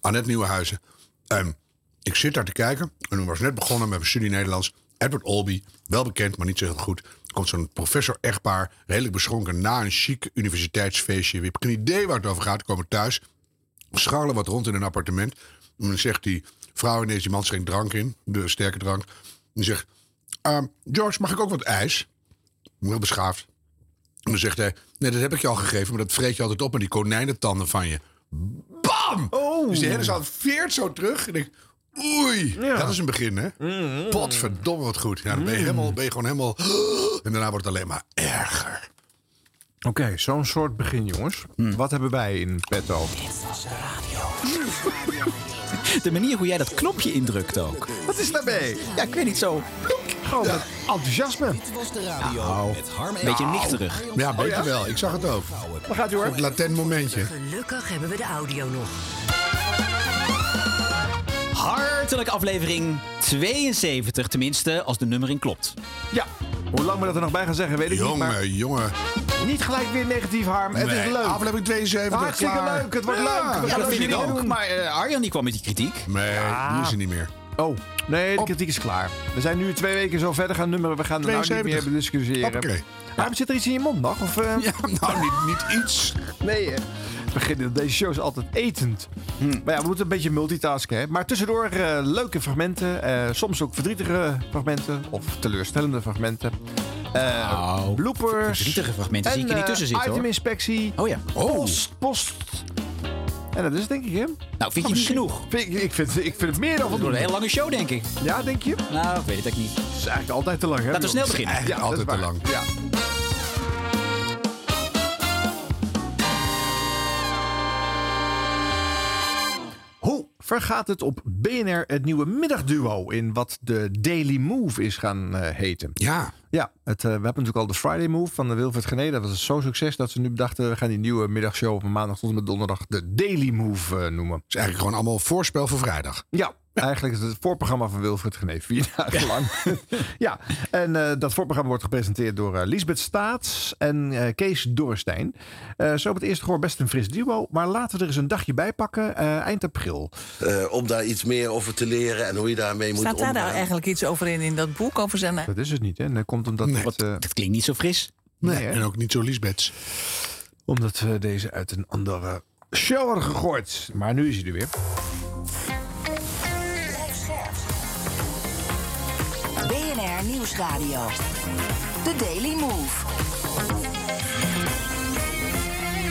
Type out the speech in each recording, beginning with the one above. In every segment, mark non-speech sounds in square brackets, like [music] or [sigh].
Annette Nieuwenhuizen. Ehm, ik zit daar te kijken. En toen was net begonnen met mijn studie Nederlands. Edward Olby, wel bekend, maar niet zo heel goed. Er komt zo'n professor echtpaar, redelijk beschonken... na een chic universiteitsfeestje. Ik heb geen idee waar het over gaat. Komen thuis, scharrelen wat rond in een appartement. En dan zegt die vrouw ineens, die man schenkt drank in. De sterke drank. Die zegt, ehm, George, mag ik ook wat ijs? Heel beschaafd. En dan zegt hij, nee, dat heb ik je al gegeven... maar dat vreet je altijd op met die konijnentanden van je. Bam! Oh. Dus de hele zaal veert zo terug. En ik, oei, dat is een begin, hè? Mhm. Potverdomme wat goed. Ja, dan ben je, helemaal, ben je gewoon helemaal... [gasps] En daarna wordt het alleen maar erger. Oké, zo'n soort begin, jongens. Hmm. Wat hebben wij in petto? De manier hoe jij dat knopje indrukt ook. Wat is daarbij? Ja, ik weet niet zo. Gewoon met enthousiasme. was de radio met Harm en Beetje nichterig. Ja, beter wel. Ik zag het ook. Waar gaat u hoor? Het latent momentje. Gelukkig hebben we de audio nog. Hartelijk aflevering 72, tenminste, als de nummering klopt. Ja. Hoe lang we dat er nog bij gaan zeggen, weet ik niet. Maar Jongen, jongen. niet gelijk weer negatief, Harm. Het is Nee, leuk. Aflevering 72, Hartstikke klaar. leuk. Het wordt Ja. leuk. We Ja, gaan het dat vind ik weer ook. doen. Maar eh, Arjan die kwam met die kritiek. Nee, die is er niet meer. Oh, nee, de kritiek is klaar. We zijn nu twee weken zo verder gaan nummeren. We gaan er nou niet 72. meer discussiëren. Hoppakee. Harm, zit er iets in je mond nog? Of, eh, Ja, nou, niet, niet iets. Nee, eh, we beginnen deze show is altijd etend. Hm. Maar ja, we moeten een beetje multitasken. Hè? Maar tussendoor eh, leuke fragmenten. eh, soms ook verdrietige fragmenten. Of teleurstellende fragmenten. Eh Nou, bloopers. Verdrietige fragmenten zie En ik er niet eh, tussen zitten hoor. iteminspectie. Oh ja. Post, post. En dat is het, denk ik, hè? Oh, Nou, vind je niet genoeg? Vind Ik, ik, vind, ik vind het meer dan Het wordt voldoende. een hele lange show, denk ik. Ja, denk je? Het Nou, ik weet het ook niet. is eigenlijk altijd te lang, hè? Laten we snel jongens? beginnen. Eigenlijk dat is altijd te waar. lang. Ja. Hoe vergaat het op BNR het nieuwe middagduo in wat de Daily Move is gaan eh, heten? Ja, Ja, het, eh, we hebben natuurlijk al de Friday Move van de Wilfred Gené. Dat was zo'n succes dat ze nu bedachten... we gaan die nieuwe middagshow op maandag tot en met donderdag de Daily Move eh, noemen. het is eigenlijk gewoon allemaal voorspel voor vrijdag. Ja, eigenlijk is het het voorprogramma van Wilfred Geneef. Vier dagen [laughs] lang. ja, en eh, dat voorprogramma wordt gepresenteerd door eh, Lisbeth Staats en eh, Kees Dorrestein. Eh, zo op het eerste gehoor best een fris duo. Maar laten we er eens een dagje bij pakken. eh, eind april. Eh, om daar iets meer over te leren en hoe je daarmee moet Staat daar omgaan. nou eigenlijk iets over in, in dat boek? Over zijn... eh, Dat is het niet, hè? En dat komt omdat, het, eh, Dat klinkt niet zo fris. nee, hè? En ook niet zo Liesbets. omdat we deze uit een andere show hadden gegooid. Maar nu is hij er weer. BNR Nieuwsradio. The Daily Move.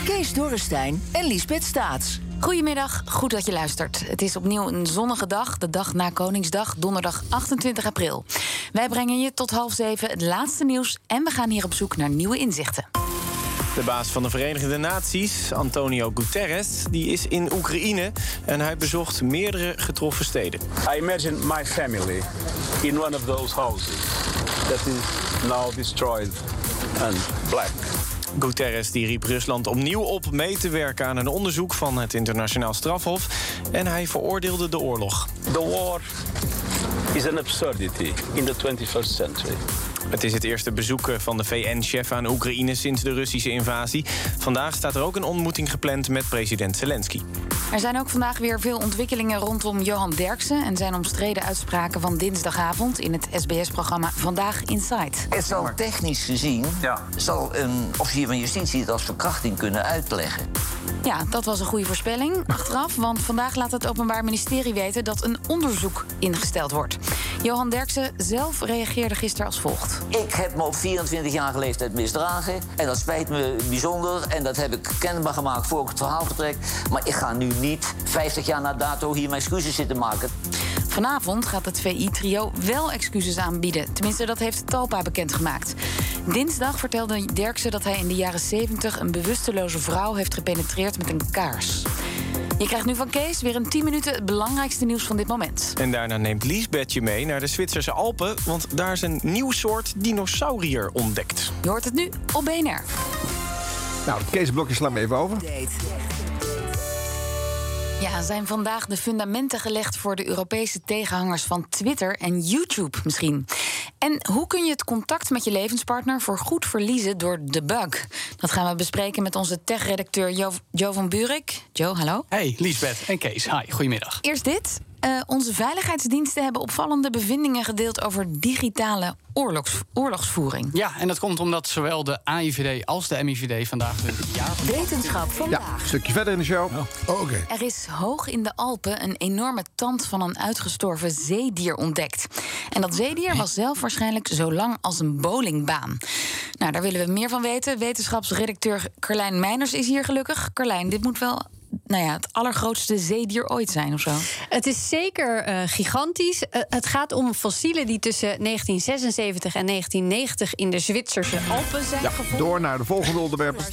Kees Dorrestein en Liesbeth Staats. Goedemiddag, goed dat je luistert. Het is opnieuw een zonnige dag, de dag na Koningsdag, donderdag 28 april. Wij brengen je tot half zeven het laatste nieuws en we gaan hier op zoek naar nieuwe inzichten. De baas van de Verenigde Naties, Antonio Guterres, die is in Oekraïne en hij bezocht meerdere getroffen steden. I imagine my family in one of those houses that is now destroyed and black. Guterres die riep Rusland opnieuw op mee te werken aan een onderzoek van het internationaal strafhof en hij veroordeelde de oorlog. The war is an absurdity in the 21st century. Het is het eerste bezoek eh, van de VN-chef aan Oekraïne sinds de Russische invasie. Vandaag staat er ook een ontmoeting gepland met president Zelensky. Er zijn ook vandaag weer veel ontwikkelingen rondom Johan Derksen en zijn omstreden uitspraken van dinsdagavond in het SBS-programma Vandaag Inside. Het zal technisch gezien, Ja. zal een officier van justitie het als verkrachting kunnen uitleggen. Ja, dat was een goede voorspelling achteraf, want vandaag laat het Openbaar Ministerie weten dat een onderzoek ingesteld wordt. Johan Derksen zelf reageerde gisteren als volgt. Ik heb me op 24-jarige leeftijd misdragen en dat spijt me bijzonder en dat heb ik kenbaar gemaakt voor ik het verhaal vertrek. Maar ik ga nu niet 50 jaar na dato hier mijn excuses zitten maken. Vanavond gaat het VI-trio wel excuses aanbieden. Tenminste, dat heeft Talpa bekendgemaakt. Dinsdag vertelde Derksen dat hij in de jaren 70 een bewusteloze vrouw heeft gepenetreerd met een kaars. Je krijgt nu van Kees weer in 10 minuten het belangrijkste nieuws van dit moment. En daarna neemt Liesbeth je mee naar de Zwitserse Alpen, want daar is een nieuw soort dinosaurier ontdekt. Je hoort het nu op BNR. Nou, Kees Blokje slaan we even over. Ja, zijn vandaag de fundamenten gelegd voor de Europese tegenhangers van Twitter en YouTube misschien. En hoe kun je het contact met je levenspartner voor goed verliezen door de bug? Dat gaan we bespreken met onze tech-redacteur Jo, Jo van Burik. Jo, hallo. Hey, Liesbeth en Kees. Hi, goedemiddag. Eerst dit. Eh, onze veiligheidsdiensten hebben opvallende bevindingen gedeeld over digitale oorlogs, oorlogsvoering. Ja, en dat komt omdat zowel de AIVD als de MIVD vandaag hun jaar... Wetenschap vandaag. Een stukje verder in de show. Oh, oké. Er is hoog in de Alpen een enorme tand van een uitgestorven zeedier ontdekt. En dat zeedier was zelf waarschijnlijk zo lang als een bowlingbaan. Nou, daar willen we meer van weten. Wetenschapsredacteur Carlijn Meiners is hier gelukkig. Carlijn, dit moet wel nou ja, het allergrootste zeedier ooit zijn of zo. Het is zeker eh, gigantisch. Eh, het gaat om fossielen die tussen 1976 en 1990 in de Zwitserse Alpen zijn Ja, gevonden. door naar de volgende onderwerpen.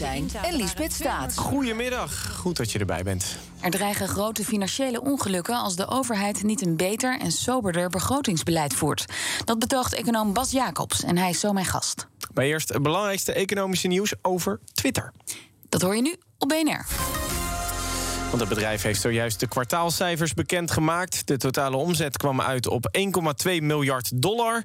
En Lisbeth staat. Goedemiddag. Goed dat je erbij bent. Er dreigen grote financiële ongelukken als de overheid niet een beter en soberder begrotingsbeleid voert. Dat betoogt econoom Bas Jacobs en hij is zo mijn gast. Maar eerst het belangrijkste economische nieuws over Twitter. Dat hoor je nu op BNR. Want het bedrijf heeft zojuist de kwartaalcijfers bekendgemaakt. De totale omzet kwam uit op 1,2 miljard dollar.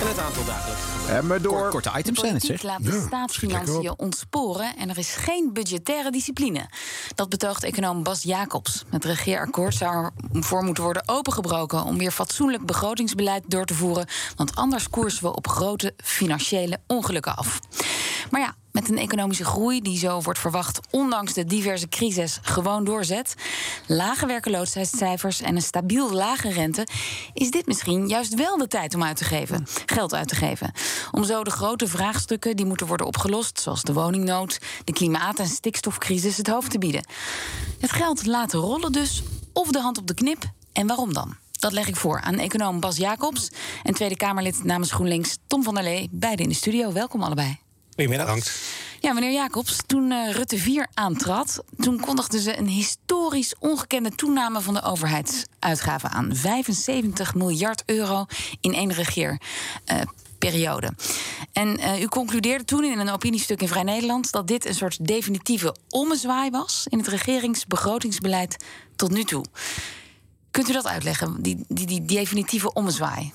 En het aantal dagelijks. En maar door. korte De politiek laat de staatsfinanciën ontsporen en er is geen budgettaire discipline. Dat betoogt econoom Bas Jacobs. Het regeerakkoord zou ervoor moeten worden opengebroken om weer fatsoenlijk begrotingsbeleid door te voeren, want anders koersen we op grote financiële ongelukken af. Maar ja, met een economische groei die zo wordt verwacht, ondanks de diverse crisis, gewoon doorzet, lage werkeloosheidscijfers en een stabiel lage rente, is dit misschien juist wel de tijd om uit te geven, geld uit te geven. Om zo de grote vraagstukken die moeten worden opgelost, zoals de woningnood, de klimaat- en stikstofcrisis, het hoofd te bieden. Het geld laten rollen dus, of de hand op de knip, en waarom dan? Dat leg ik voor aan econoom Bas Jacobs en Tweede Kamerlid namens GroenLinks Tom van der Lee, beide in de studio. Welkom allebei. Goedemiddag. Ja, meneer Jacobs, toen eh, Rutte 4 aantrad, toen kondigden ze een historisch ongekende toename van de overheidsuitgaven aan. 75 miljard euro in één regeerperiode. En eh, u concludeerde toen in een opiniestuk in Vrij Nederland dat dit een soort definitieve ommezwaai was in het regeringsbegrotingsbeleid tot nu toe. Kunt u dat uitleggen, die, die, die definitieve ommezwaai?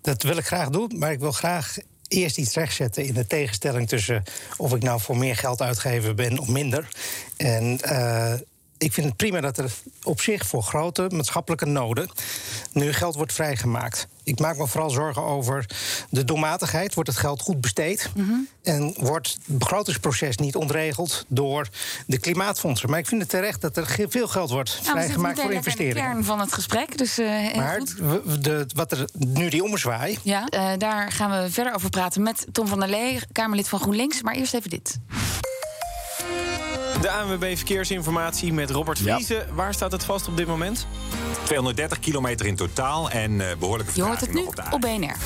Dat wil ik graag doen, maar ik wil graag eerst iets rechtzetten in de tegenstelling tussen of ik nou voor meer geld uitgeven ben of minder. En eh, ik vind het prima dat er op zich voor grote maatschappelijke noden nu geld wordt vrijgemaakt. Ik maak me vooral zorgen over de doelmatigheid. Wordt het geld goed besteed? Mhm. En wordt het begrotingsproces niet ontregeld door de klimaatfondsen? Maar ik vind het terecht dat er ge- veel geld wordt Nou, we zitten vrijgemaakt voor meteen lekker in de investeringen. kern van het gesprek, dus eh, heel Maar goed. we- we- de, wat er nu die ommezwaai, Ja, eh, daar gaan we verder over praten met Tom van der Lee, Kamerlid van GroenLinks. Maar eerst even dit. De ANWB Verkeersinformatie met Robert Vriezen. Waar staat het vast op dit moment? 230 kilometer in totaal en eh, behoorlijke Je hoort vertraging het nu nog op de op BNR.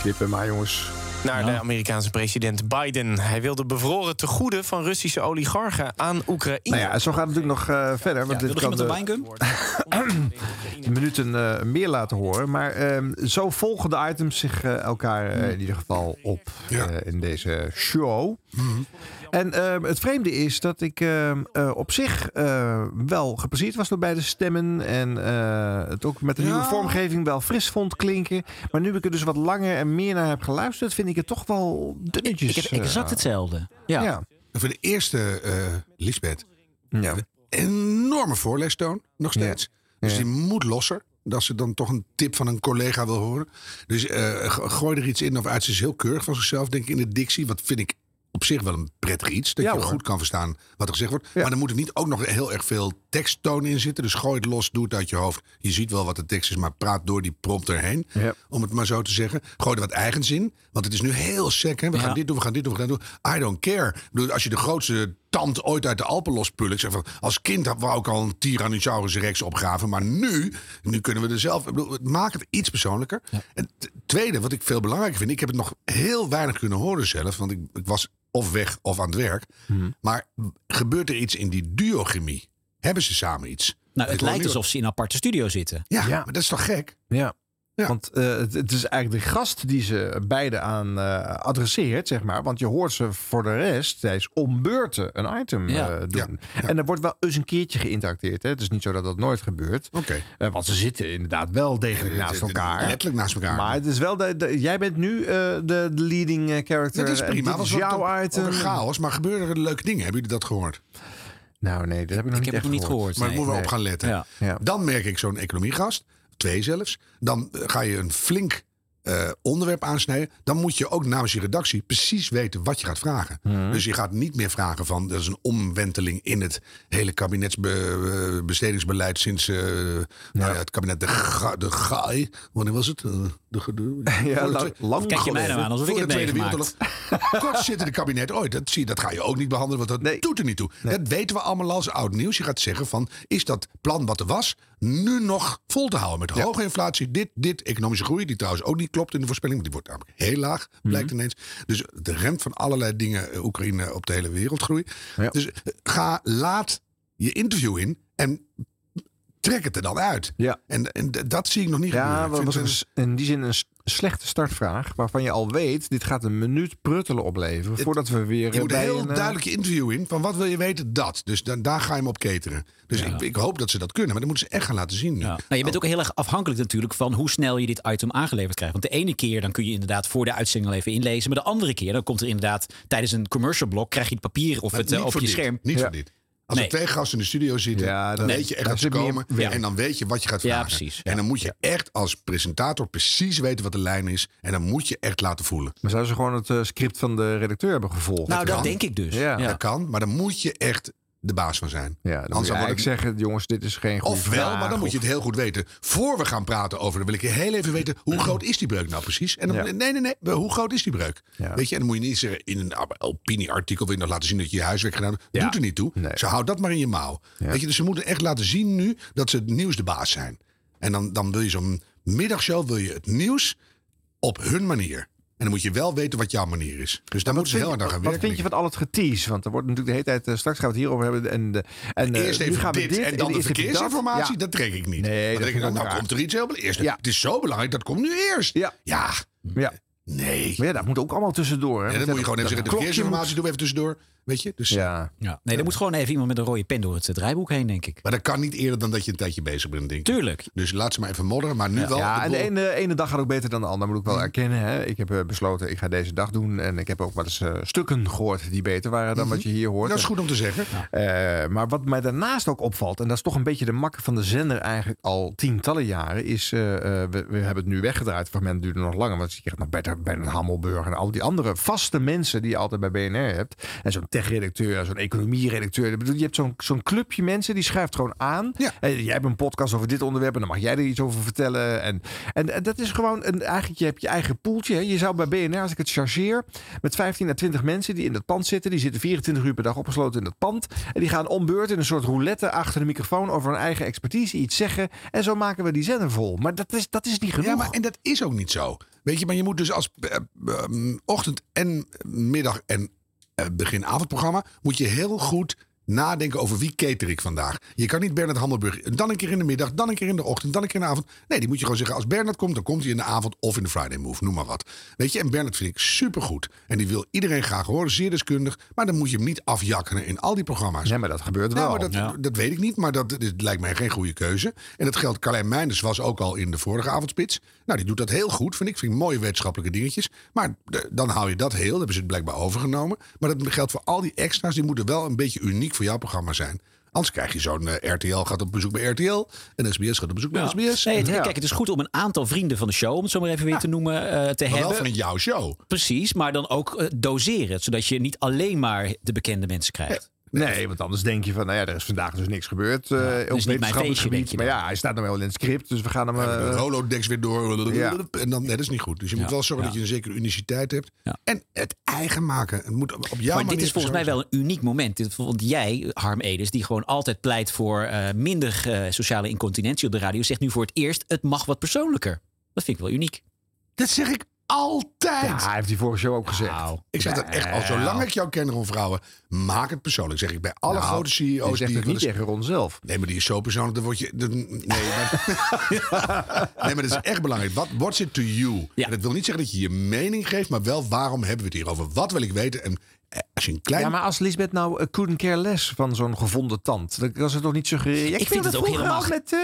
Knippen maar, jongens. Naar de Amerikaanse president Biden. Hij wil de bevroren tegoeden van Russische oligarchen aan Oekraïne. eh, Nou ja, zo gaat het natuurlijk nog eh, verder. Want dit wilde kan iemand de- [clears throat] minuten eh, meer laten horen. Maar ehm, zo volgen de items zich eh, elkaar Mm. eh, in ieder geval op eh, in deze show. Mm-hmm. En ehm, het vreemde is dat ik ehm, eh, op zich eh, wel geplezierd was door beide stemmen. En eh, het ook met de nieuwe Ja. vormgeving wel fris vond klinken. Maar nu ik er dus wat langer en meer naar heb geluisterd, vind ik het toch wel dunnetjes. Ik- ik heb exact eh, hetzelfde. Ja. Voor de eerste, eh Lisbeth. Een Enorme voorleestoon, nog steeds. Dus die moet losser. Dat ze dan toch een tip van een collega wil horen. Dus eh, g- gooi er iets in of uit. Ze is heel keurig van zichzelf, denk ik, in de dictie. Wat vind ik op zich wel een prettig iets. Dat je goed kan verstaan wat er gezegd wordt. Maar er moet er niet ook nog heel erg veel teksttoon in zitten. Dus gooi het los, doe het uit je hoofd. Je ziet wel wat de tekst is, maar praat door die prompter heen. Om het maar zo te zeggen. Gooi er wat eigens in. Want het is nu heel sec. Hè? We gaan dit doen, we gaan dit doen, we gaan dit doen. I don't care. Ik bedoel, als je de grootste tand ooit uit de Alpen lospullen. Ik zeg van, als kind had- wou ik al een Tyrannosaurus rex opgraven. Maar nu, nu kunnen we er zelf... Ik bedoel, het maakt het iets persoonlijker. En t- tweede, wat ik veel belangrijker vind... Ik heb het nog heel weinig kunnen horen zelf. Want ik, ik was of weg of aan het werk. Hmm. Maar gebeurt er iets in die duochemie? Hebben ze samen iets? Nou, het Ik hoor lijkt nu- alsof ze in een aparte studio zitten. Ja, maar dat is toch gek? Ja. Want eh, het, het is eigenlijk de gast die ze beide aan eh, adresseert, zeg maar. Want je hoort ze voor de rest tijdens ombeurten een item Ja. eh, doen. En er wordt wel eens een keertje geïnteracteerd. Hè? Het is niet zo dat dat nooit gebeurt. Eh, want ze zitten inderdaad wel degelijk naast elkaar. Letterlijk naast elkaar. Maar het is wel de, de- jij bent nu eh, de, de leading eh, character. Dat is En prima. Dit was is ook jouw een- item. ook een chaos, maar gebeuren er leuke dingen? Hebben jullie dat gehoord? Nou nee, dat heb ik nog ik niet heb echt het niet gehoord. Maar daar moeten we op gaan letten. Dan merk ik zo'n economiegast, twee zelfs. Dan eh, ga je een flink eh, onderwerp aansnijden. Dan moet je ook namens je redactie precies weten wat je gaat vragen. Mhm. Dus je gaat niet meer vragen van, dat is een omwenteling in het hele kabinetsbestedingsbeleid sinds eh, nou ja, het kabinet de, ga, de Gaai. Wanneer was het? Eh, De, de, [laughs] Ja, voor de lang- twee- lang Kijk je mij nou aan, alsof voor ik de het Tweede meegemaakt. Wereldoorlog. Kort zitten de kabinet ooit. Dat, zie, je, dat ga je ook niet behandelen, want dat doet er niet toe. Dat weten we allemaal als oud nieuws. Je gaat zeggen van, is dat plan wat er was nu nog vol te houden? Met hoge inflatie, dit, dit, economische groei, die trouwens ook niet klopt in de voorspelling. want Die wordt namelijk heel laag, Mhm. blijkt ineens. Dus de rent van allerlei dingen, eh, Oekraïne op de hele wereld groei. Dus eh, ga, laat je interview in en trek het er dan uit. En, en d- dat zie ik nog niet Ja, gebeuren. Ik dat vind was het een s- in die zin een s- slechte startvraag. Waarvan je al weet, dit gaat een minuut pruttelen opleveren. Voordat we weer Je eh, moet een bij heel een, eh, duidelijk interview in van wat wil je weten dat. Dus dan, daar ga je hem op cateren. Dus ik, ik hoop dat ze dat kunnen, maar dan moeten ze echt gaan laten zien. nu. Nou, je bent ook heel erg afhankelijk natuurlijk van hoe snel je dit item aangeleverd krijgt. Want de ene keer dan kun je inderdaad voor de uitzending al even inlezen. Maar de andere keer dan komt er inderdaad tijdens een commercial blok krijg je het papier of Maar het eh, niet op voor je dit. scherm. Niet voor Ja. dit. Als Nee. er twee gasten in de studio zitten, dan dat- weet je echt daar dat ze zit meer komen. werk. En dan weet je wat je gaat Ja, vragen. precies. En dan moet je echt als presentator precies weten wat de lijn is. En dan moet je echt laten voelen. Maar zouden ze gewoon het eh, script van de redacteur hebben gevolgd? Nou, kan. dus. Ja. Dat kan, maar dan moet je echt de baas van zijn. Ja, dan Anders moet je dan word eigenlijk ik zeggen, jongens, dit is geen goede Ofwel, vraag. maar dan moet je of- het heel goed weten. Voor we gaan praten over, dan wil ik heel even weten hoe groot is die breuk nou precies? En dan, Ja. nee, nee, nee, hoe groot is die breuk? Weet je, en dan moet je niet zeggen in een opinieartikel wil je nog laten zien dat je je huiswerk gedaan hebt. Doet er niet toe. Ze houdt dat maar in je mouw. Weet je, dus ze moeten echt laten zien nu dat ze het nieuws de baas zijn. En dan, dan wil je zo'n middagshow, wil je het nieuws op hun manier. En dan moet je wel weten wat jouw manier is. Dus daar moeten ze heel hard aan gaan Wat werken. vind je van al het getease? Want er wordt natuurlijk de hele tijd, eh, straks gaan we het hierover hebben. En, de- en, eh, Eerst nu even gaan we dit, en dan de eerst even dat. verkeersinformatie. Ja. Dat trek ik niet. Nee, Dan dat denk vind ik, ik nou, ook nou raar. komt er iets heel belangrijks. Het is zo belangrijk, dat komt nu eerst. Ja. ja. Ja. Nee. Maar ja, dat moet ook allemaal tussendoor. Hè? En dan moet je gewoon even zeggen, de verkeersinformatie doen we even tussendoor. Weet je? Dus, ja. Ja. Nee, er moet gewoon even iemand met een rode pen door het eh, draaiboek heen, denk ik. Maar dat kan niet eerder dan dat je een tijdje bezig bent, denk ik. Tuurlijk. Dus laat ze maar even modderen, maar nu wel. Ja, ik en de bedoel- ene, ene dag gaat ook beter dan de ander, moet ik wel erkennen. Hè? Ik heb eh, besloten, ik ga deze dag doen. En ik heb ook wel eens eh, stukken gehoord die beter waren dan wat je hier hoort. Mhm. Dat is goed om te zeggen. Eh, maar wat mij daarnaast ook opvalt, en dat is toch een beetje de makker van de zender eigenlijk al tientallen jaren, is, eh, eh, we, we hebben het nu weggedraaid, het fragment duurde nog langer, want je krijgt nog Bert, Bernard Hammelburg en al die andere vaste mensen die je altijd bij BNR hebt. En zo'n tech-redacteur, zo'n economie-redacteur, Ik bedoel, je hebt zo'n zo'n clubje mensen, die schuift gewoon aan. En jij hebt een podcast over dit onderwerp en dan mag jij er iets over vertellen. En, en, en dat is gewoon, een, eigenlijk je hebt je eigen poeltje. hè. Je zou bij BNR, als ik het chargeer, met 15 à 20 mensen die in dat pand zitten. Die zitten 24 uur per dag opgesloten in dat pand. En die gaan om beurt in een soort roulette achter de microfoon over hun eigen expertise iets zeggen. En zo maken we die zender vol. Maar dat is, dat is niet genoeg. Ja, maar en dat is ook niet zo. Weet je, maar je moet dus als eh, ehm, ochtend en middag en eh, begin-avondprogramma... moet je heel goed nadenken over wie cater ik vandaag. Je kan niet Bernard Hammelburg dan een keer in de middag, dan een keer in de ochtend, dan een keer in de avond. Nee, die moet je gewoon zeggen, als Bernard komt, dan komt hij in de avond of in de Friday Move, noem maar wat. Weet je, en Bernard vind ik supergoed. En die wil iedereen graag horen, zeer deskundig. Maar dan moet je hem niet afjakkenen in al die programma's. Ja, maar dat gebeurt Nou, wel. maar dat, Ja. dat weet ik niet, maar dat, dit lijkt mij geen goede keuze. En dat geldt, Carlijn Meinders was ook al in de vorige avondspits. Nou, die doet dat heel goed, vind ik. Vind ik mooie wetenschappelijke dingetjes. Maar de- dan hou je dat heel, dat hebben ze het blijkbaar overgenomen. Maar dat geldt voor al die extra's, die moeten wel een beetje uniek voor jouw programma zijn. Anders krijg je zo'n eh, RTL gaat op bezoek bij RTL en SBS gaat op bezoek bij Ja. SBS. Nee, het- Kijk, het is goed om een aantal vrienden van de show, om het zo maar even weer te noemen, eh, te Maar wel hebben. van jouw show. Precies, maar dan ook eh, doseren. Zodat je niet alleen maar de bekende mensen krijgt. Nee, want anders denk je van, nou ja, er is vandaag dus niks gebeurd. eh op mijn wetenschappelijk feestje, gebied. denk je Maar dan. ja, hij staat nog wel in het script, dus we gaan hem... Ja, eh, de holodex weer door. Ja. En dan, nee, dat is niet goed. Dus je moet Ja, wel zorgen ja. dat je een zekere uniciteit hebt. En het eigen maken. Het moet op jouw maar dit manier is volgens mij wel een uniek moment. Dit- Want jij, Harm Edens, die gewoon altijd pleit voor eh, minder eh, sociale incontinentie op de radio, zegt nu voor het eerst: het mag wat persoonlijker. Dat vind ik wel uniek. Dat zeg ik Altijd. Ja, hij heeft die vorige show ook gezegd. Ik zeg dat echt al, Nou. zolang ik jou ken, Ron Vrouwen, maak het persoonlijk. Zeg ik bij alle Nou, grote je CEO's zegt die het ik wel niet eens- tegen Ron zelf. Nee, maar die is zo persoonlijk, dan word je... dan- nee, maar, [laughs] nee, maar dat is echt belangrijk. What, what's it to you? En dat wil niet zeggen dat je je mening geeft, maar wel waarom hebben we het hierover? Wat wil ik weten? En eh, als je een klein... Ja, maar als Lisbeth nou eh, couldn't care less van zo'n gevonden tand, dan kan ze toch niet suggereren. Ja, ik, vind het ook helemaal met, eh,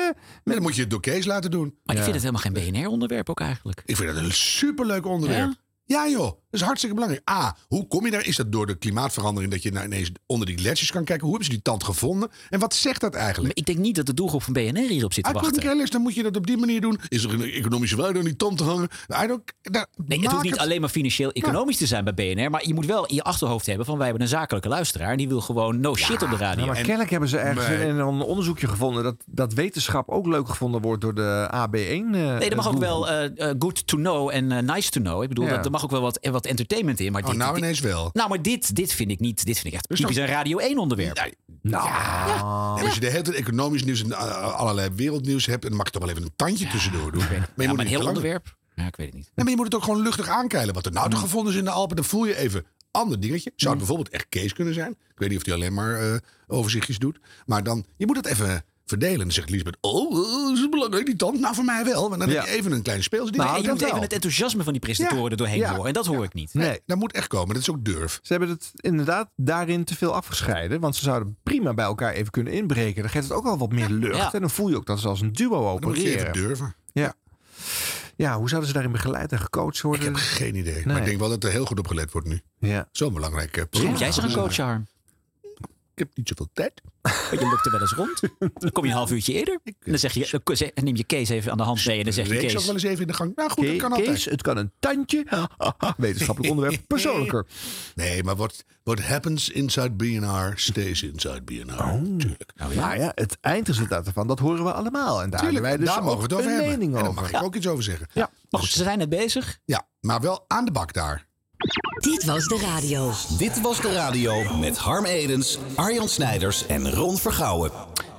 Nee, dan moet je het door Kees laten doen. Maar ik Ja. vind het helemaal geen BNR-onderwerp ook eigenlijk. Ik vind dat een superleuk onderwerp. Ja? joh, dat is hartstikke belangrijk. A, hoe kom je daar? Is dat door de klimaatverandering dat je nou ineens onder die gletsjers kan kijken? Hoe hebben ze die tand gevonden? En wat zegt dat eigenlijk? ik denk niet dat de doelgroep van BNR hierop Ah, zit te I couldn't wachten. care less, dan moet je dat op die manier doen. Is er een economische waarde aan die tand te hangen? I don't, daar- Nee, het maak hoeft niet alleen maar financieel-economisch te zijn bij BNR. Maar je moet wel in je achterhoofd hebben van wij hebben een zakelijke luisteraar. En die wil gewoon no shit op de nou, radio. Ja, maar En- kennelijk hebben ze ergens Nee. in in een onderzoekje gevonden dat, dat wetenschap ook leuk gevonden wordt door de AB1. eh, Nee, er mag ook wel eh, eh, good to know en eh, nice to know. Ik bedoel, Ja. dat, er mag ook wel wat, eh, wat entertainment in. Maar Oh, dit, nou dit- ineens wel. Nou, maar dit, dit vind ik niet. Dit vind ik echt Dus typisch dan- een Radio 1 onderwerp. Nou. En als je de hele tijd economisch nieuws en eh, allerlei wereldnieuws hebt, dan mag je toch wel even een tandje tussendoor doen. Maar, je moet maar het een niet heel te lang- onderwerp? Ja, ik weet het niet. Mm. Nee, maar je moet het ook gewoon luchtig aankeilen. Wat er nou toch gevonden is in de Alpen, dan voel je even ander dingetje. Zou het bijvoorbeeld echt Kees kunnen zijn? Ik weet niet of hij alleen maar eh, overzichtjes doet. Maar dan, je moet het even verdelen. Dan zegt Lisbeth, oh, eh, dat is belangrijk, die tand. Nou, voor mij wel. Maar dan Ja. heb je even een klein speels. Nou, je moet even het enthousiasme van die presentatoren er doorheen horen. En dat hoor ik niet. Nee. Dat moet echt komen. Dat is ook durf. Ze hebben het inderdaad daarin te veel afgescheiden. Want ze zouden prima bij elkaar even kunnen inbreken. Dan geeft het ook al wat meer lucht. Ja. En dan voel je ook dat ze als een duo Dan moet je even opereren. durven. Ja. ja, hoe zouden ze daarin begeleid en gecoacht worden? Ik heb geen idee. Maar ik denk wel dat er heel goed op gelet wordt nu. Ja. Zo'n belangrijk eh, Misschien programma. moet jij ze gaan coachen, Harm. Ik heb niet zoveel tijd. Je loopt er wel eens rond. Dan kom je een half uurtje eerder. En dan, zeg eh, je, dan ze- neem je Kees even aan de hand mee. En dan zeg je Reeks ook Kees... wel eens even in de gang. Nou goed, Ke- dat kan altijd. Kees, het kan een tandje. [laughs] Wetenschappelijk onderwerp, persoonlijker. Nee, maar what, what happens inside BNR stays inside BNR. Tuurlijk. Nou ja, het eindresultaat ervan, dat horen we allemaal. En daar Tuurlijk, hebben wij dus daar mogen we het ook over een hebben. mening En daar over. mag ik ook iets over zeggen. Ja, maar goed, ze zijn net bezig. Ja, maar wel aan de bak daar. Dit was de radio. Dit was de radio met Harm Edens, Arjan Snijders en Ron Vergouwen.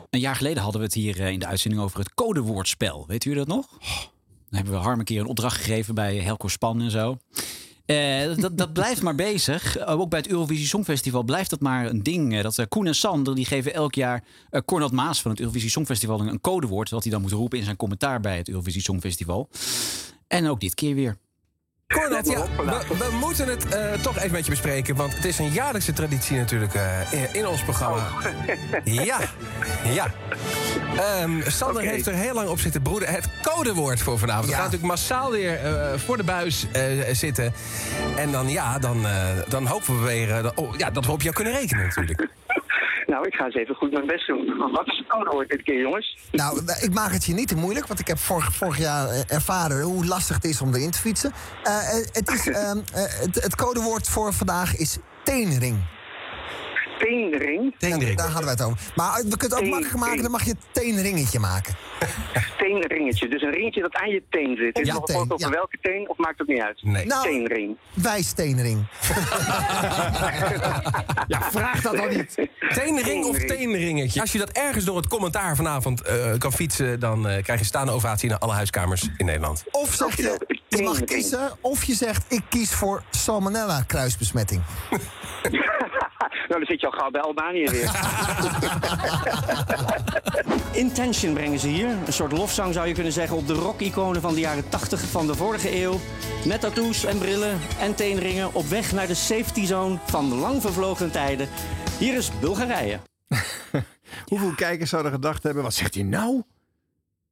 Een jaar geleden hadden we het hier eh, in de uitzending over het codewoordspel. Weet u dat nog? Dan hebben we Harm een keer een opdracht gegeven bij Helco Span en zo. Eh, dat, dat blijft maar bezig. Eh, ook bij het Eurovisie Songfestival blijft dat maar een ding. Eh, dat, eh, Koen en Sander die geven elk jaar eh Cornel Maas van het Eurovisie Songfestival een, een codewoord. Wat hij dan moet roepen in zijn commentaar bij het Eurovisie Songfestival. En ook dit keer weer. Cornet, ja, we, we moeten het eh, toch even met je bespreken. Want het is een jaarlijkse traditie natuurlijk eh, in, in ons programma. Oh. [laughs] Ja, ja. Ehm, Sander heeft er heel lang op zitten broeden. Het codewoord voor vanavond. We gaan natuurlijk massaal weer eh, voor de buis eh, zitten. En dan, ja, dan, eh, dan hopen we weer eh, dat- oh, ja, dat we op jou kunnen rekenen natuurlijk. [laughs] Nou, ik ga eens even goed mijn best doen. Wat is het codewoord dit keer, jongens? Nou, [laughs] ik maak het je niet te moeilijk, want ik heb vorig, vorig jaar eh, ervaren hoe lastig het is om erin te fietsen. Eh, eh, het, is, ehm, eh, het, het codewoord voor vandaag is teenring. Teenring? Ja, daar hadden wij het over. Maar eh, we kunnen het ook makkelijker maken, dan mag je teenringetje maken. Teenringetje. Dus een ringetje dat aan je teen zit. Is Ja, het nog teen, een over ja. welke teen of maakt het niet uit? Nee. Nou- Teenring. [laughs] Wijsteenring. Ja, vraag dat dan niet. Teenring of teenringetje? Als je dat ergens door het commentaar vanavond eh, kan fietsen... dan eh, krijg je staande ovatie naar alle huiskamers in Nederland. Of zeg je, je mag kiezen, of je zegt, ik kies voor salmonella kruisbesmetting. nou, dan zit je al gauw bij Albanië weer. [laughs] Intention brengen ze hier. Een soort lofzang zou je kunnen zeggen op de rock-iconen van de jaren 80 van de vorige eeuw. Met tattoos en brillen en teenringen op weg naar de safety zone van lang vervlogen tijden. Hier is Bulgarije. Hoeveel kijkers zouden gedacht hebben, wat zegt hij nou?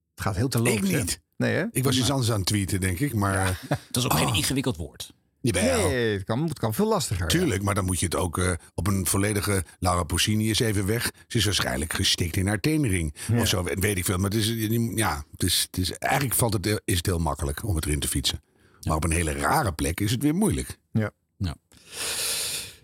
Het gaat heel te lopen. Ik niet. Nee, hè? Ik was iets anders aan het tweeten, denk ik. Maar, eh, Ah. Dat is ook geen ingewikkeld woord. Nee, het kan, het kan veel lastiger. Tuurlijk, maar dan moet je het ook eh, op een volledige... Laura Poussini is even weg. Ze is waarschijnlijk gestikt in haar teenring. Of zo, weet ik veel. Maar het is, eh, ja, het is, het is, eigenlijk valt het, eh, is het heel makkelijk om het erin te fietsen. Maar op een hele rare plek is het weer moeilijk. Ja. Nou,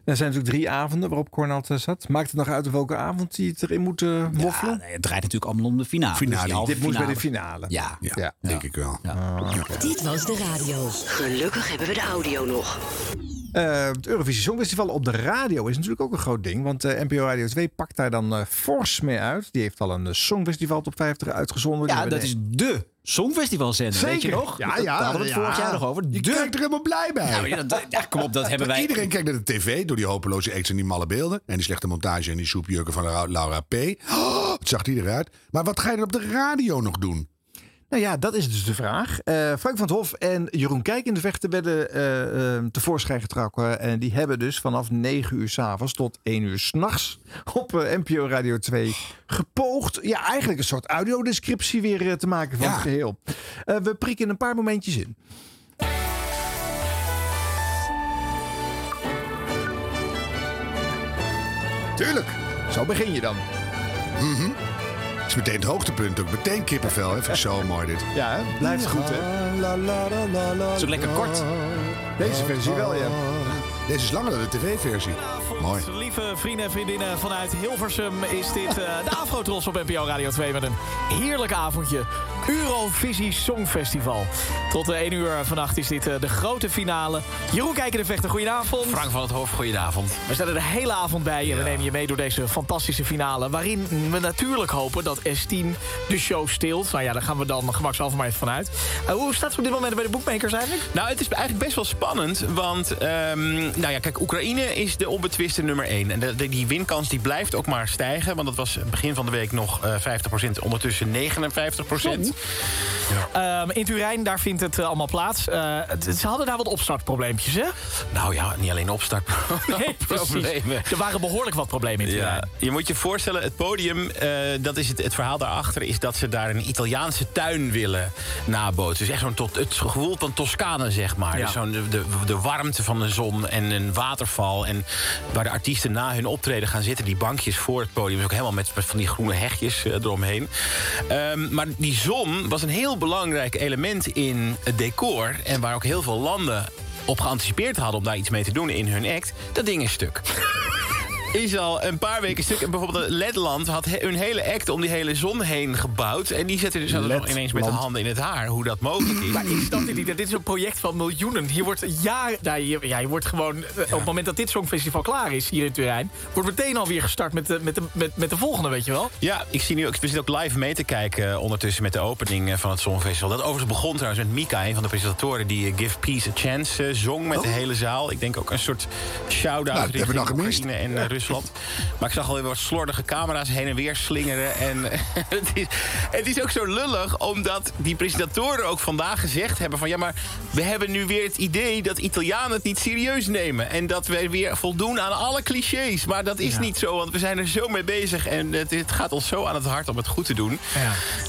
Er zijn natuurlijk drie avonden waarop Cornald eh, zat. Maakt het nog uit op welke avond hij het erin moet eh, moffelen? nee, het draait natuurlijk allemaal om de finale. Finale. Dus die halve Dit moest bij de finale. Ja. Ja, denk ik wel. Ja. Dit was de radio. Gelukkig hebben we de audio nog. Eh, het Eurovisie Songfestival op de radio is natuurlijk ook een groot ding. Want eh, NPO Radio 2 pakt daar dan eh, fors mee uit. Die heeft al een eh, Songfestival Top 50 uitgezonden. Ja, dat is de Songfestivalzender, weet je Zeker. nog? Ja, ja, Daar hadden we het ja. vorig jaar nog over. Je De- kijkt er helemaal blij bij. Nou, ja, dat- ja, kom op, dat hebben wij... Iedereen kijkt naar de tv door die hopeloze acts en die malle beelden. En die slechte montage en die soepjurken van Laura- Laura P. Oh, het zag die eruit. Maar wat ga je dan op de radio nog doen? Nou ja, dat is dus de vraag. Eh, Frank van het Hof en Jeroen Kijk in de vechten werden eh, eh, tevoorschijn getrokken. En die hebben dus vanaf 9 uur s'avonds tot 1 uur s'nachts op eh, NPO Radio 2 gepoogd. Ja, eigenlijk een soort audiodescriptie weer eh, te maken van het geheel. Eh, we prikken een paar momentjes in. Tuurlijk. Zo begin je dan. Mhm. Het is meteen het hoogtepunt ook. Meteen kippenvel. hè. Vind ik zo mooi dit. Ja, hè? [laughs] blijft goed hè. Zo lekker kort. Deze versie wel, ja. Deze is langer dan de tv-versie. Mooi. Lieve vrienden en vriendinnen vanuit Hilversum is dit eh, de Afrotros op NPO Radio 2 met een heerlijk avondje. Eurovisie Songfestival. Tot eh, 1 uur vannacht is dit eh, de grote finale. Jeroen Kijken de Vechter, goedenavond. Frank van het Hof, goedenavond. We staan er de hele avond bij en we nemen je mee door deze fantastische finale. Waarin we natuurlijk hopen dat S10 de show stilt. Nou ja, daar gaan we dan gemakshalve maar even vanuit. Eh, hoe staat het op dit moment bij de boekmakers eigenlijk? Nou, het is eigenlijk best wel spannend. Want, ehm, nou ja, kijk, Oekraïne is de onbetwiste nummer 1. En de- de- die winkans die blijft ook maar stijgen. Want dat was begin van de week nog eh 50%, ondertussen 59%. Ehm, in [laughs] Turijn, daar vindt het eh, allemaal plaats. Eh, het- ze hadden daar wat opstartprobleempjes, hè? Nou ja, niet alleen opstart. Nee, [laughs] precies. Problemen. Er waren behoorlijk wat problemen in Turijn. Ja, je moet je voorstellen, het podium, eh, dat is het, het verhaal daarachter... is dat ze daar een Italiaanse tuin willen nabootsen. Dus echt zo'n tot, het gevoel van Toscane, zeg maar. Ja. Dus zo'n, de, de, de warmte van de zon en een waterval... en waar de artiesten na hun optreden gaan zitten... die bankjes voor het podium, dus ook helemaal met, met van die groene hegjes eh, eromheen. Ehm, maar die zon was een heel belangrijk element in het decor... en waar ook heel veel landen op geanticipeerd hadden... om daar iets mee te doen in hun act. Dat ding is stuk. is al een paar weken stuk. En bijvoorbeeld Letland had he- hun hele act om die hele zon heen gebouwd. En die zetten dus nog ineens met de Letland. handen in het haar hoe dat mogelijk is. Maar ik snap dit niet. Dit is een project van miljoenen. Hier wordt jaar, nou, hier- ja, je wordt gewoon eh, op het moment dat dit songfestival klaar is hier in Turijn, wordt meteen alweer gestart met de, met de, met, met de volgende, weet je wel? Ja, ik zie nu ook, we zitten ook live mee te kijken eh, ondertussen met de opening eh, van het Songfestival. Dat overigens begon trouwens met Mika, een van de presentatoren die eh, Give Peace a Chance eh, zong met de hele zaal. Ik denk ook een soort Nou, dat shout-out hebben we dan richting gemist. Oekraïne en eh, Rusland. Maar ik zag alweer wat slordige camera's heen en weer slingeren. En [laughs] eh, het, is, het is ook zo lullig, omdat die presentatoren ook vandaag gezegd hebben van... ja, maar we hebben nu weer het idee dat Italianen het niet serieus nemen. En dat wij weer voldoen aan alle clichés. Maar dat is niet zo, want we zijn er zo mee bezig. En het, het gaat ons zo aan het hart om het goed te doen...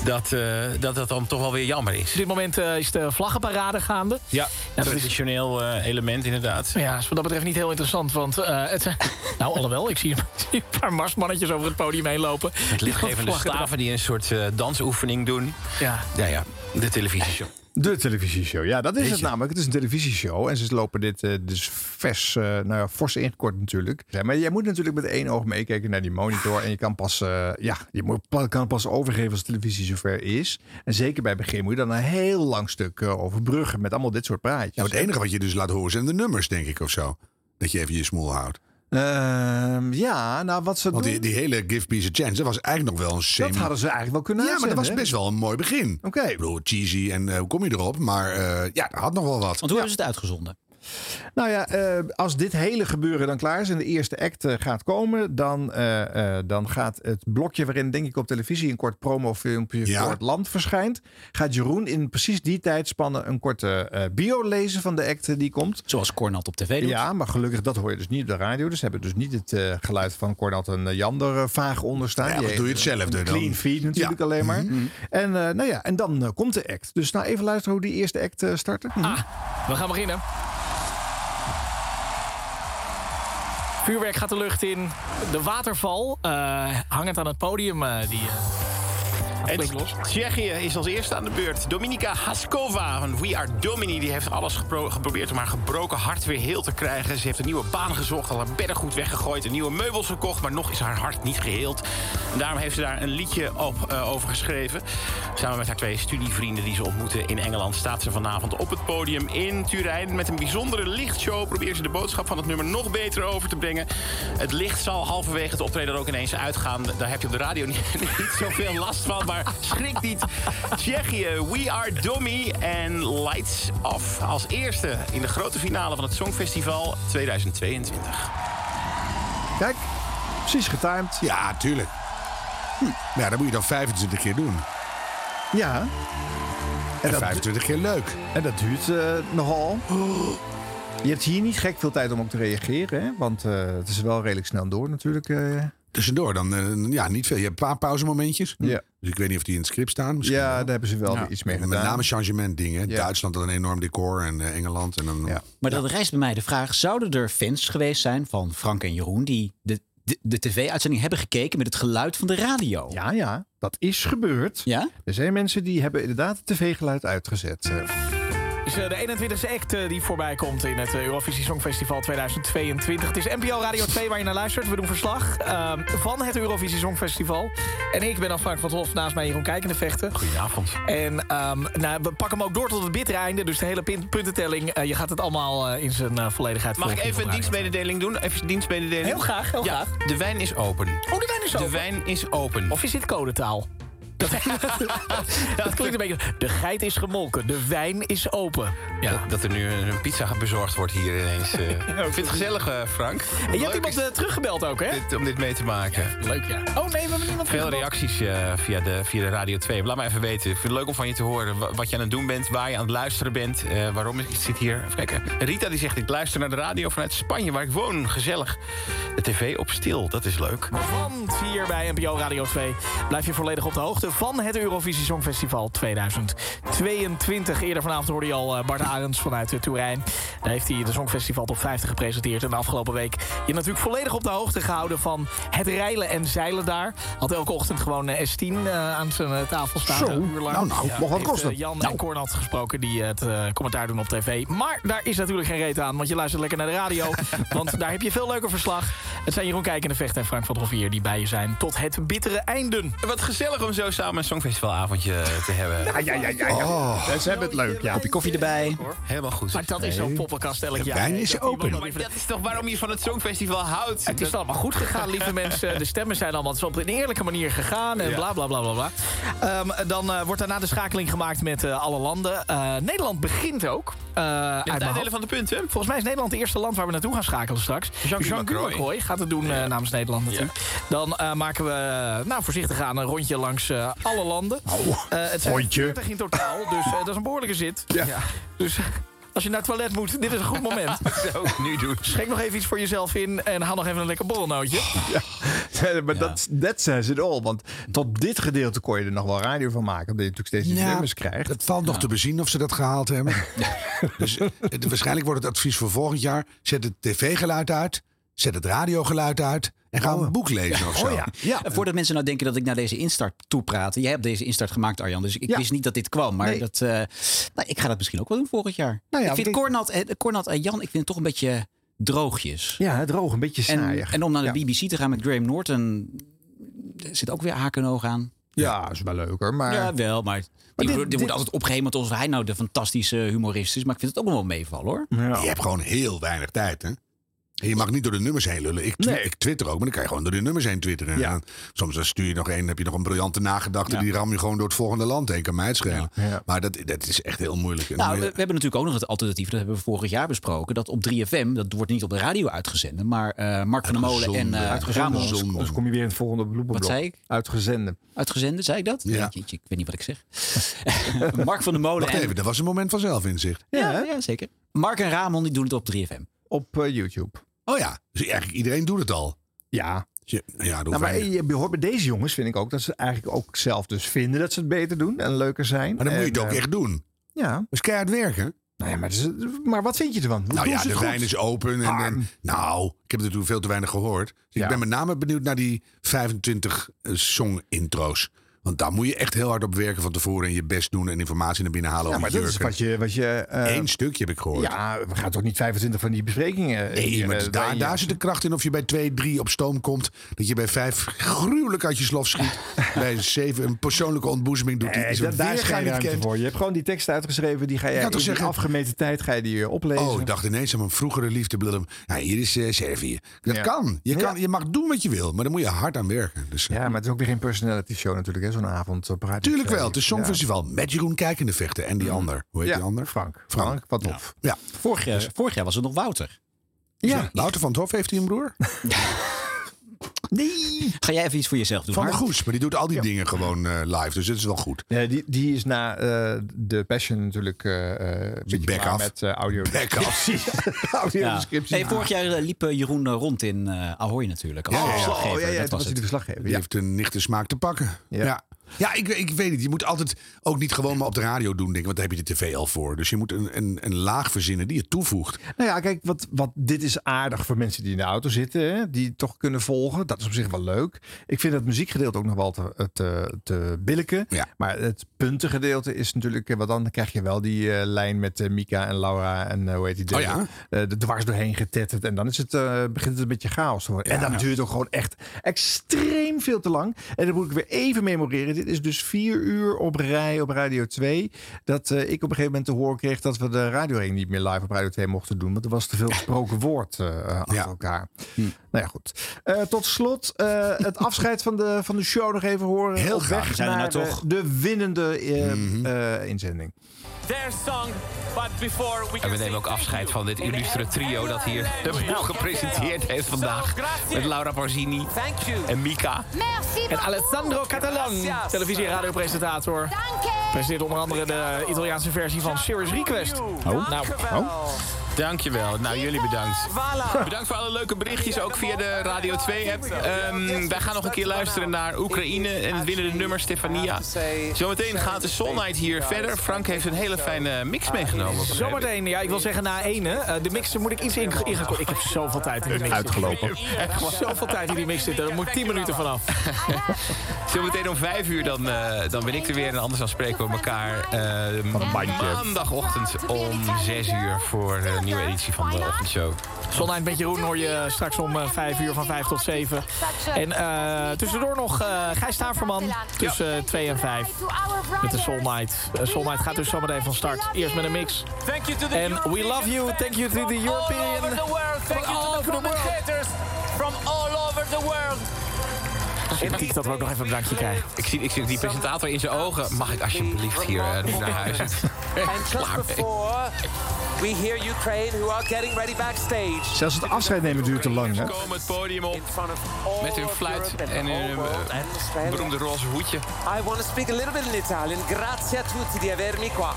Dat, eh, dat dat dan toch wel weer jammer is. Op dit moment eh, is de vlaggenparade gaande. Ja, traditioneel eh, element inderdaad. Maar Nou Ja, is wat dat betreft niet heel interessant, want eh, het zijn... [laughs] Nou, alhoewel, ik zie ik zie een [laughs] paar marsmannetjes over het podium heen lopen. Met lichtgevende Vlaggen eraf. staven die een soort eh, dansoefening doen. Ja. Ja, ja. De televisieshow. De televisieshow. Ja, dat is Weet het je. namelijk. Het is een televisieshow. En ze lopen dit eh, dus vers, eh, nou ja, fors ingekort natuurlijk. Ja, maar jij moet natuurlijk met één oog meekijken naar die monitor. En je kan pas, eh, ja, je moet, pa- kan pas overgeven als de televisie zover is. En zeker bij het begin moet je dan een heel lang stuk eh, overbruggen met allemaal dit soort praatjes. Ja, maar het enige wat je dus laat horen zijn de nummers, denk ik, of zo. Dat je even je smoel houdt. Ehm, ja, nou wat ze Want doen... die, die hele Give Peace a Chance, dat was eigenlijk nog wel een semi... Dat hadden ze eigenlijk wel kunnen Ja, maar dat was uitzenden, best wel een mooi begin. Oké. Ik bedoel, cheesy en eh, hoe kom je erop? Maar eh, ja, dat had nog wel wat. Want hoe hebben ze het uitgezonden? Nou ja, eh, als dit hele gebeuren dan klaar is en de eerste act eh, gaat komen, dan, eh, eh, dan gaat het blokje waarin, denk ik, op televisie een kort promofilmpje Ja. voor het land verschijnt. Gaat Jeroen in precies die tijdspanne een korte eh, bio lezen van de act eh, die komt. Zoals Cornat op tv doet. Ja, maar gelukkig dat hoor je dus niet op de radio. Dus ze hebben dus niet het eh, geluid van Cornat en eh, Jander eh, vaag onderstaan. Ja, Die dat doe je heeft hetzelfde een dan. Clean feed natuurlijk Ja. Mhm. alleen maar. En, eh, nou ja, en dan eh, komt de act. Dus nou even luisteren hoe die eerste act eh, startte. Ah. We gaan beginnen. Vuurwerk gaat de lucht in. De waterval eh, hangend aan het podium. eh, die, eh, En flink los. Tsjechië is als eerste aan de beurt. Dominika Haskova van We Are Domini. Die heeft alles gepro- geprobeerd om haar gebroken hart weer heel te krijgen. Ze heeft een nieuwe baan gezocht, al haar bedden goed weggegooid... en nieuwe meubels gekocht, maar nog is haar hart niet geheeld. En daarom heeft ze daar een liedje op, eh, over geschreven. Samen met haar twee studievrienden die ze ontmoeten in Engeland... staat ze vanavond op het podium in Turijn. Met een bijzondere lichtshow probeert ze de boodschap van het nummer... nog beter over te brengen. Het licht zal halverwege het optreden er ook ineens uitgaan. Daar heb je op de radio [laughs] niet, niet zoveel last van, maar schrik niet. Tsjechië, We Are Dummy en Lights Off. Als eerste in de grote finale van het Songfestival 2022. Kijk, precies getimed. Ja, tuurlijk. Hm. Ja, dat moet je dan 25 keer doen. Ja. En, 25 keer leuk. En dat duurt eh, nogal. [gasps] Je hebt hier niet gek veel tijd om ook te reageren, hè? Want eh, het is wel redelijk snel door natuurlijk. eh. Tussendoor dan, eh, ja, niet veel. Je hebt een paar pauzemomentjes. Ja. Dus ik weet niet of die in het script staan. Misschien Ja, daar hebben ze wel weer iets mee Met gedaan. name changement dingen. Duitsland had een enorm decor en eh, Engeland. En dan, Maar dat rijst bij mij de vraag: zouden er fans geweest zijn van Frank en Jeroen die de, de, de tv-uitzending hebben gekeken met het geluid van de radio? Ja, ja, dat is gebeurd. Ja? Er zijn mensen die hebben inderdaad het tv-geluid uitgezet. eh. is eh, de 21ste act eh, die voorbij komt in het eh, Eurovisie Songfestival 2022. Het is NPO Radio 2 waar je naar luistert. We doen verslag eh, van het Eurovisie Songfestival. En ik ben afspraak van het Hof naast mij Jeroen Kijkende vechten. Goedenavond. En ehm, nou, we pakken hem ook door tot het bittere einde. Dus de hele pin- puntentelling, eh, je gaat het allemaal eh, in zijn eh, volledigheid Mag ik volgen even een hier op Radio dienstmededeling doen? Even een dienstmededeling. Heel graag, heel Ja, De wijn is open. Oh, de wijn is open. De wijn is open. Of is dit [laughs] codetaal? Dat, [laughs] dat klinkt een beetje... De geit is gemolken, de wijn is open. Ja, dat er nu een pizza bezorgd wordt hier ineens. [laughs] eh. Ik vind het gezellig, eh, Frank. En je hebt iemand eh, teruggebeld ook, hè? Dit- om dit mee te maken. leuk, ja. Oh nee, we hebben niemand Veel teruggebeld. reacties eh, via, de, via de Radio 2. Laat maar even weten. Ik vind het leuk om van je te horen. wa- Wat je aan het doen bent, waar je aan het luisteren bent. eh, waarom ik zit hier. Even kijken. Rita die zegt, ik luister naar de radio vanuit Spanje, waar ik woon. Gezellig. De tv op stil, dat is leuk. Want hier bij NPO Radio 2 blijf je volledig op de hoogte van het Eurovisie Songfestival 2022. Eerder vanavond hoorde je al eh, Bart Arends vanuit eh, Turijn. Daar heeft hij de Songfestival Top 50 gepresenteerd. En de afgelopen week je natuurlijk volledig op de hoogte gehouden van het reilen en zeilen daar. Had elke ochtend gewoon eh, S10 eh, aan zijn eh, tafel staan. Zo, een uur lang. nou, nou, mocht wat heeft, eh, kosten. Jan en Cor had gesproken die het eh, commentaar doen op tv. Maar daar is natuurlijk geen reet aan, want je luistert lekker naar de radio. want daar heb je veel leuker verslag. Het zijn Jeroen Kijkende Vecht en Frank van der Hof hier die bij je zijn tot het bittere einden. Wat gezellig om zo samen een songfestivalavondje eh, te hebben. Oh. Ja, ja, ja, ja, ja. Ze hebben het leuk, ja. Kopje koffie erbij. Helemaal goed. Maar dat is zo'n poppenkast elk jaar. wijn hè, is dat iemand open. dan Maar even- dat is toch waarom je van het Songfestival houdt? Het is Dat- allemaal goed gegaan, [laughs] lieve mensen. De stemmen zijn allemaal op een eerlijke manier gegaan en Ja. bla bla bla bla. bla. Ehm, dan eh, wordt daarna de schakeling gemaakt met eh, alle landen. Eh, Nederland begint ook. eh, uit mijn uitdelen hoofd. van de punten. Volgens mij is Nederland het eerste land waar we naartoe gaan schakelen straks. Jean-Guy Macroy. Macroy gaat het doen eh, namens Nederland natuurlijk. Dan eh, maken we eh, nou, voorzichtig aan een rondje langs eh, alle landen. Eh, het zijn rondje. 40 in totaal, dus eh, dat is een behoorlijke zit. Ja. Dus als je naar het toilet moet, dit is een goed moment. [laughs] Zo, nu doen. Schenk nog even iets voor jezelf in en haal nog even een lekker borrelnootje. [laughs] Ja, maar dat that says it all. Want tot dit gedeelte kon je er nog wel radio van maken. Omdat je natuurlijk steeds die nummers krijgt. Het valt nog te bezien of ze dat gehaald [laughs] hebben. dus, eh, het- waarschijnlijk wordt het advies voor volgend jaar... zet het tv-geluid uit, zet het radiogeluid uit... en ga Oh. een boek lezen of Oh zo. En voordat mensen nou denken dat ik naar deze instart toe praat. Jij hebt deze instart gemaakt, Arjan. Dus ik wist niet dat dit kwam. Maar Nee. dat, eh, nou, ik ga dat misschien ook wel doen volgend jaar. Nou ja, ik vind want Cornat, eh, Cornat en Jan, ik vind het toch een beetje droogjes. Ja, het droog, een beetje En, saaiig. en om naar de Ja. BBC te gaan met Graham Norton... er zit ook weer haken en ogen aan. Ja, is wel leuker, maar... Ja, wel, maar, die, dit- wordt- die dit- wordt altijd opgehemeld alsof hij nou de fantastische humorist is. Maar ik vind het ook nog wel meevallen, hoor. Je hebt gewoon heel weinig tijd, hè? En je mag niet door de nummers heen lullen. Ik, twi- ik twitter ook, maar dan kan je gewoon door de nummers heen twitteren. En dan- soms dan stuur je nog één, heb je nog een briljante nagedachte... die ram je gewoon door het volgende land heen. Kan mij het schelen. Maar dat, dat is echt heel moeilijk. En dan Nou, we, moet we je- hebben natuurlijk ook nog het alternatief. Dat hebben we vorig jaar besproken. Dat op 3FM, dat wordt niet op de radio uitgezonden. Maar eh, Mark van der Molen en eh, Ramos. Dus, dus kom je weer in het volgende bloepenblok. Wat zei ik? Uitgezenden. Uitgezenden, zei ik dat? Ja. Jeetje, ik weet niet wat ik zeg. [laughs] Mark van der Molen. Wacht en- even, dat was een moment van zelfinzicht. Ja, ja, zeker. Mark en Ramon die doen het op 3FM. Op eh, YouTube. Oh ja, dus eigenlijk iedereen doet het al. Dus Ja. Ja, ja dat Nou, hoeft maar eigenlijk- je behoort bij deze jongens, vind ik ook, dat ze eigenlijk ook zelf dus vinden dat ze het beter doen en leuker zijn. Maar dan moet je En, het ook eh, echt doen. Ja. Dus keihard werken. Nou ja, maar, het is- maar wat vind je ervan? Hoe Nou doen ja, ze het de goed? wijn is open. En, en, nou, ik heb natuurlijk veel te weinig gehoord. Dus Ja. Ik ben met name benieuwd naar die 25 eh, song-intro's. Want daar moet je echt heel hard op werken van tevoren. En je best doen en informatie naar binnen halen. Ja, om maar die dat is jurken. wat je... Wat je eh, Eén stukje heb ik gehoord. Ja, we gaan toch niet 25 van die besprekingen... eh, Nee, maar het is daar, daar zit de kracht in of je bij 2, 3 op stoom komt. Dat je bij 5 gruwelijk uit je slof [laughs] schiet. bij 7 een persoonlijke ontboezeming doet. die Nee, is Eh, da- een daar is weerga geen niet ruimte kent. voor. Je hebt gewoon die tekst uitgeschreven. Die ga je kan in toch die zeggen- afgemeten tijd ga je die eh, oplezen. Oh, ik dacht ineens aan mijn vroegere liefde. blablabla. Ja, hier is eh, Servië. Dat Ja. kan. Je, Ja. kan. je mag doen wat je wil, maar daar moet je hard aan werken. Dus, Ja, maar het is ook weer geen personality show natuurlijk, hè, zo'n avond. Op Radio Tuurlijk twee. wel. Het is Ja. Mhm. Songfestival met Jeroen Kijkende vechten en die ander. Hoe heet Ja, die ander? Frank. Frank, wat op. Ja. Dus- Vorig jaar, vorig jaar was het nog Wouter. Ja. Wouter van het Hof heeft hij een [laughs] broer? nee. Ga jij even iets voor jezelf doen? Van de Harm? Goes, maar die doet al die dingen gewoon eh, live. Dus dat is wel goed. Ja, die, die is na eh, de Passion natuurlijk eh, eh, een beetje back klaar af. met eh, audio. Back af. Precies. audio Ja. descriptie. Hey, vorig jaar eh, liep eh, Jeroen eh, rond in eh Ahoy natuurlijk. Als Ja, ja, ja. verslaggever, Oh, ja, ja, dat toen was was hij het. de verslaggever. Die heeft een nichte smaak te pakken. Ja. ja. ik, ik weet niet. Je moet altijd ook niet gewoon maar op de radio doen, denk ik. Want daar heb je de tv al voor. Dus je moet een, een, een laag verzinnen die je toevoegt. Nou ja, kijk, wat, wat, dit is aardig voor mensen die in de auto zitten. Hè, die toch kunnen volgen. Dat is op zich wel leuk. Ik vind het muziekgedeelte ook nog wel te, te, te billijken. Maar het puntengedeelte is natuurlijk... eh, Wat dan krijg je wel die eh, lijn met eh, Mika en Laura en eh, hoe heet die? derde? ja? Eh, de dwars doorheen getetterd. En dan is het, eh, begint het een beetje chaos te worden. En dat duurt ook gewoon echt extreem veel te lang. En dat moet ik weer even memoreren. Dit is dus vier uur op rij op Radio 2. Dat eh, ik op een gegeven moment te horen kreeg dat we de Radio 1 niet meer live op Radio 2 mochten doen. Want er was te veel gesproken [laughs] woord eh, eh, achter elkaar. Hm. Nou ja, goed. Eh, tot slot eh, het [laughs] afscheid van de, van de show nog even horen. Heel Op graag. We Weg zijn er naar nou de, toch. Mhm. de winnende eh, eh, inzending. Their song, but before we En we nemen ook afscheid van dit illustre trio dat hier de [laughs] boel gepresenteerd heeft vandaag. Met Laura Parzini en Mika. En Alessandro Catalan, televisie- en radiopresentator. Presenteert onder andere de Italiaanse versie van Serious Request. Oh. Nou, Dankjewel. Nou, jullie bedankt. Bedankt voor alle leuke berichtjes, ook via de Radio 2-app. Ehm, wij gaan nog een keer luisteren naar Oekraïne en het winnende nummer Stefania. Zometeen gaat de Soul Night hier verder. Frank heeft een hele fijne mix meegenomen. Zometeen, ja, ik wil zeggen na één, hè. Eh, de mixer moet ik iets inge- ingekort. Ik heb zoveel tijd in de mixer. Uitgelopen. Echt zoveel tijd in die mix zitten. Er moet 10 minuten vanaf. Zometeen om vijf uur dan, eh, dan ben ik er weer. En anders dan spreken we elkaar eh, maandagochtend om zes uur voor een nieuwe editie van de ochtendshow. Zonlijn met Jeroen hoor je straks om eh, 5 uur van 5 tot 7. En eh, tussendoor nog eh Gijs Taverman tussen 2 en 5. Met de Soul Night. Eh, Soul Night gaat dus zometeen van start. Eerst met een mix. En we love you. Thank you to the European. From all over the world. Thank you to the commentators from all over the world. Sympathiek dat we ook nog even een drankje krijgen. Ik zie, ik zie die presentator in zijn ogen. Mag ik alsjeblieft hier eh, nu naar huis? And just before, we hear Ukraine who are getting ready backstage. Zelfs het afscheid nemen duurt te lang. Hè? Komen het podium op met hun fluit en hun eh, beroemde roze hoedje. I want to speak a little bit in Italian. Grazie a tutti di avermi qua.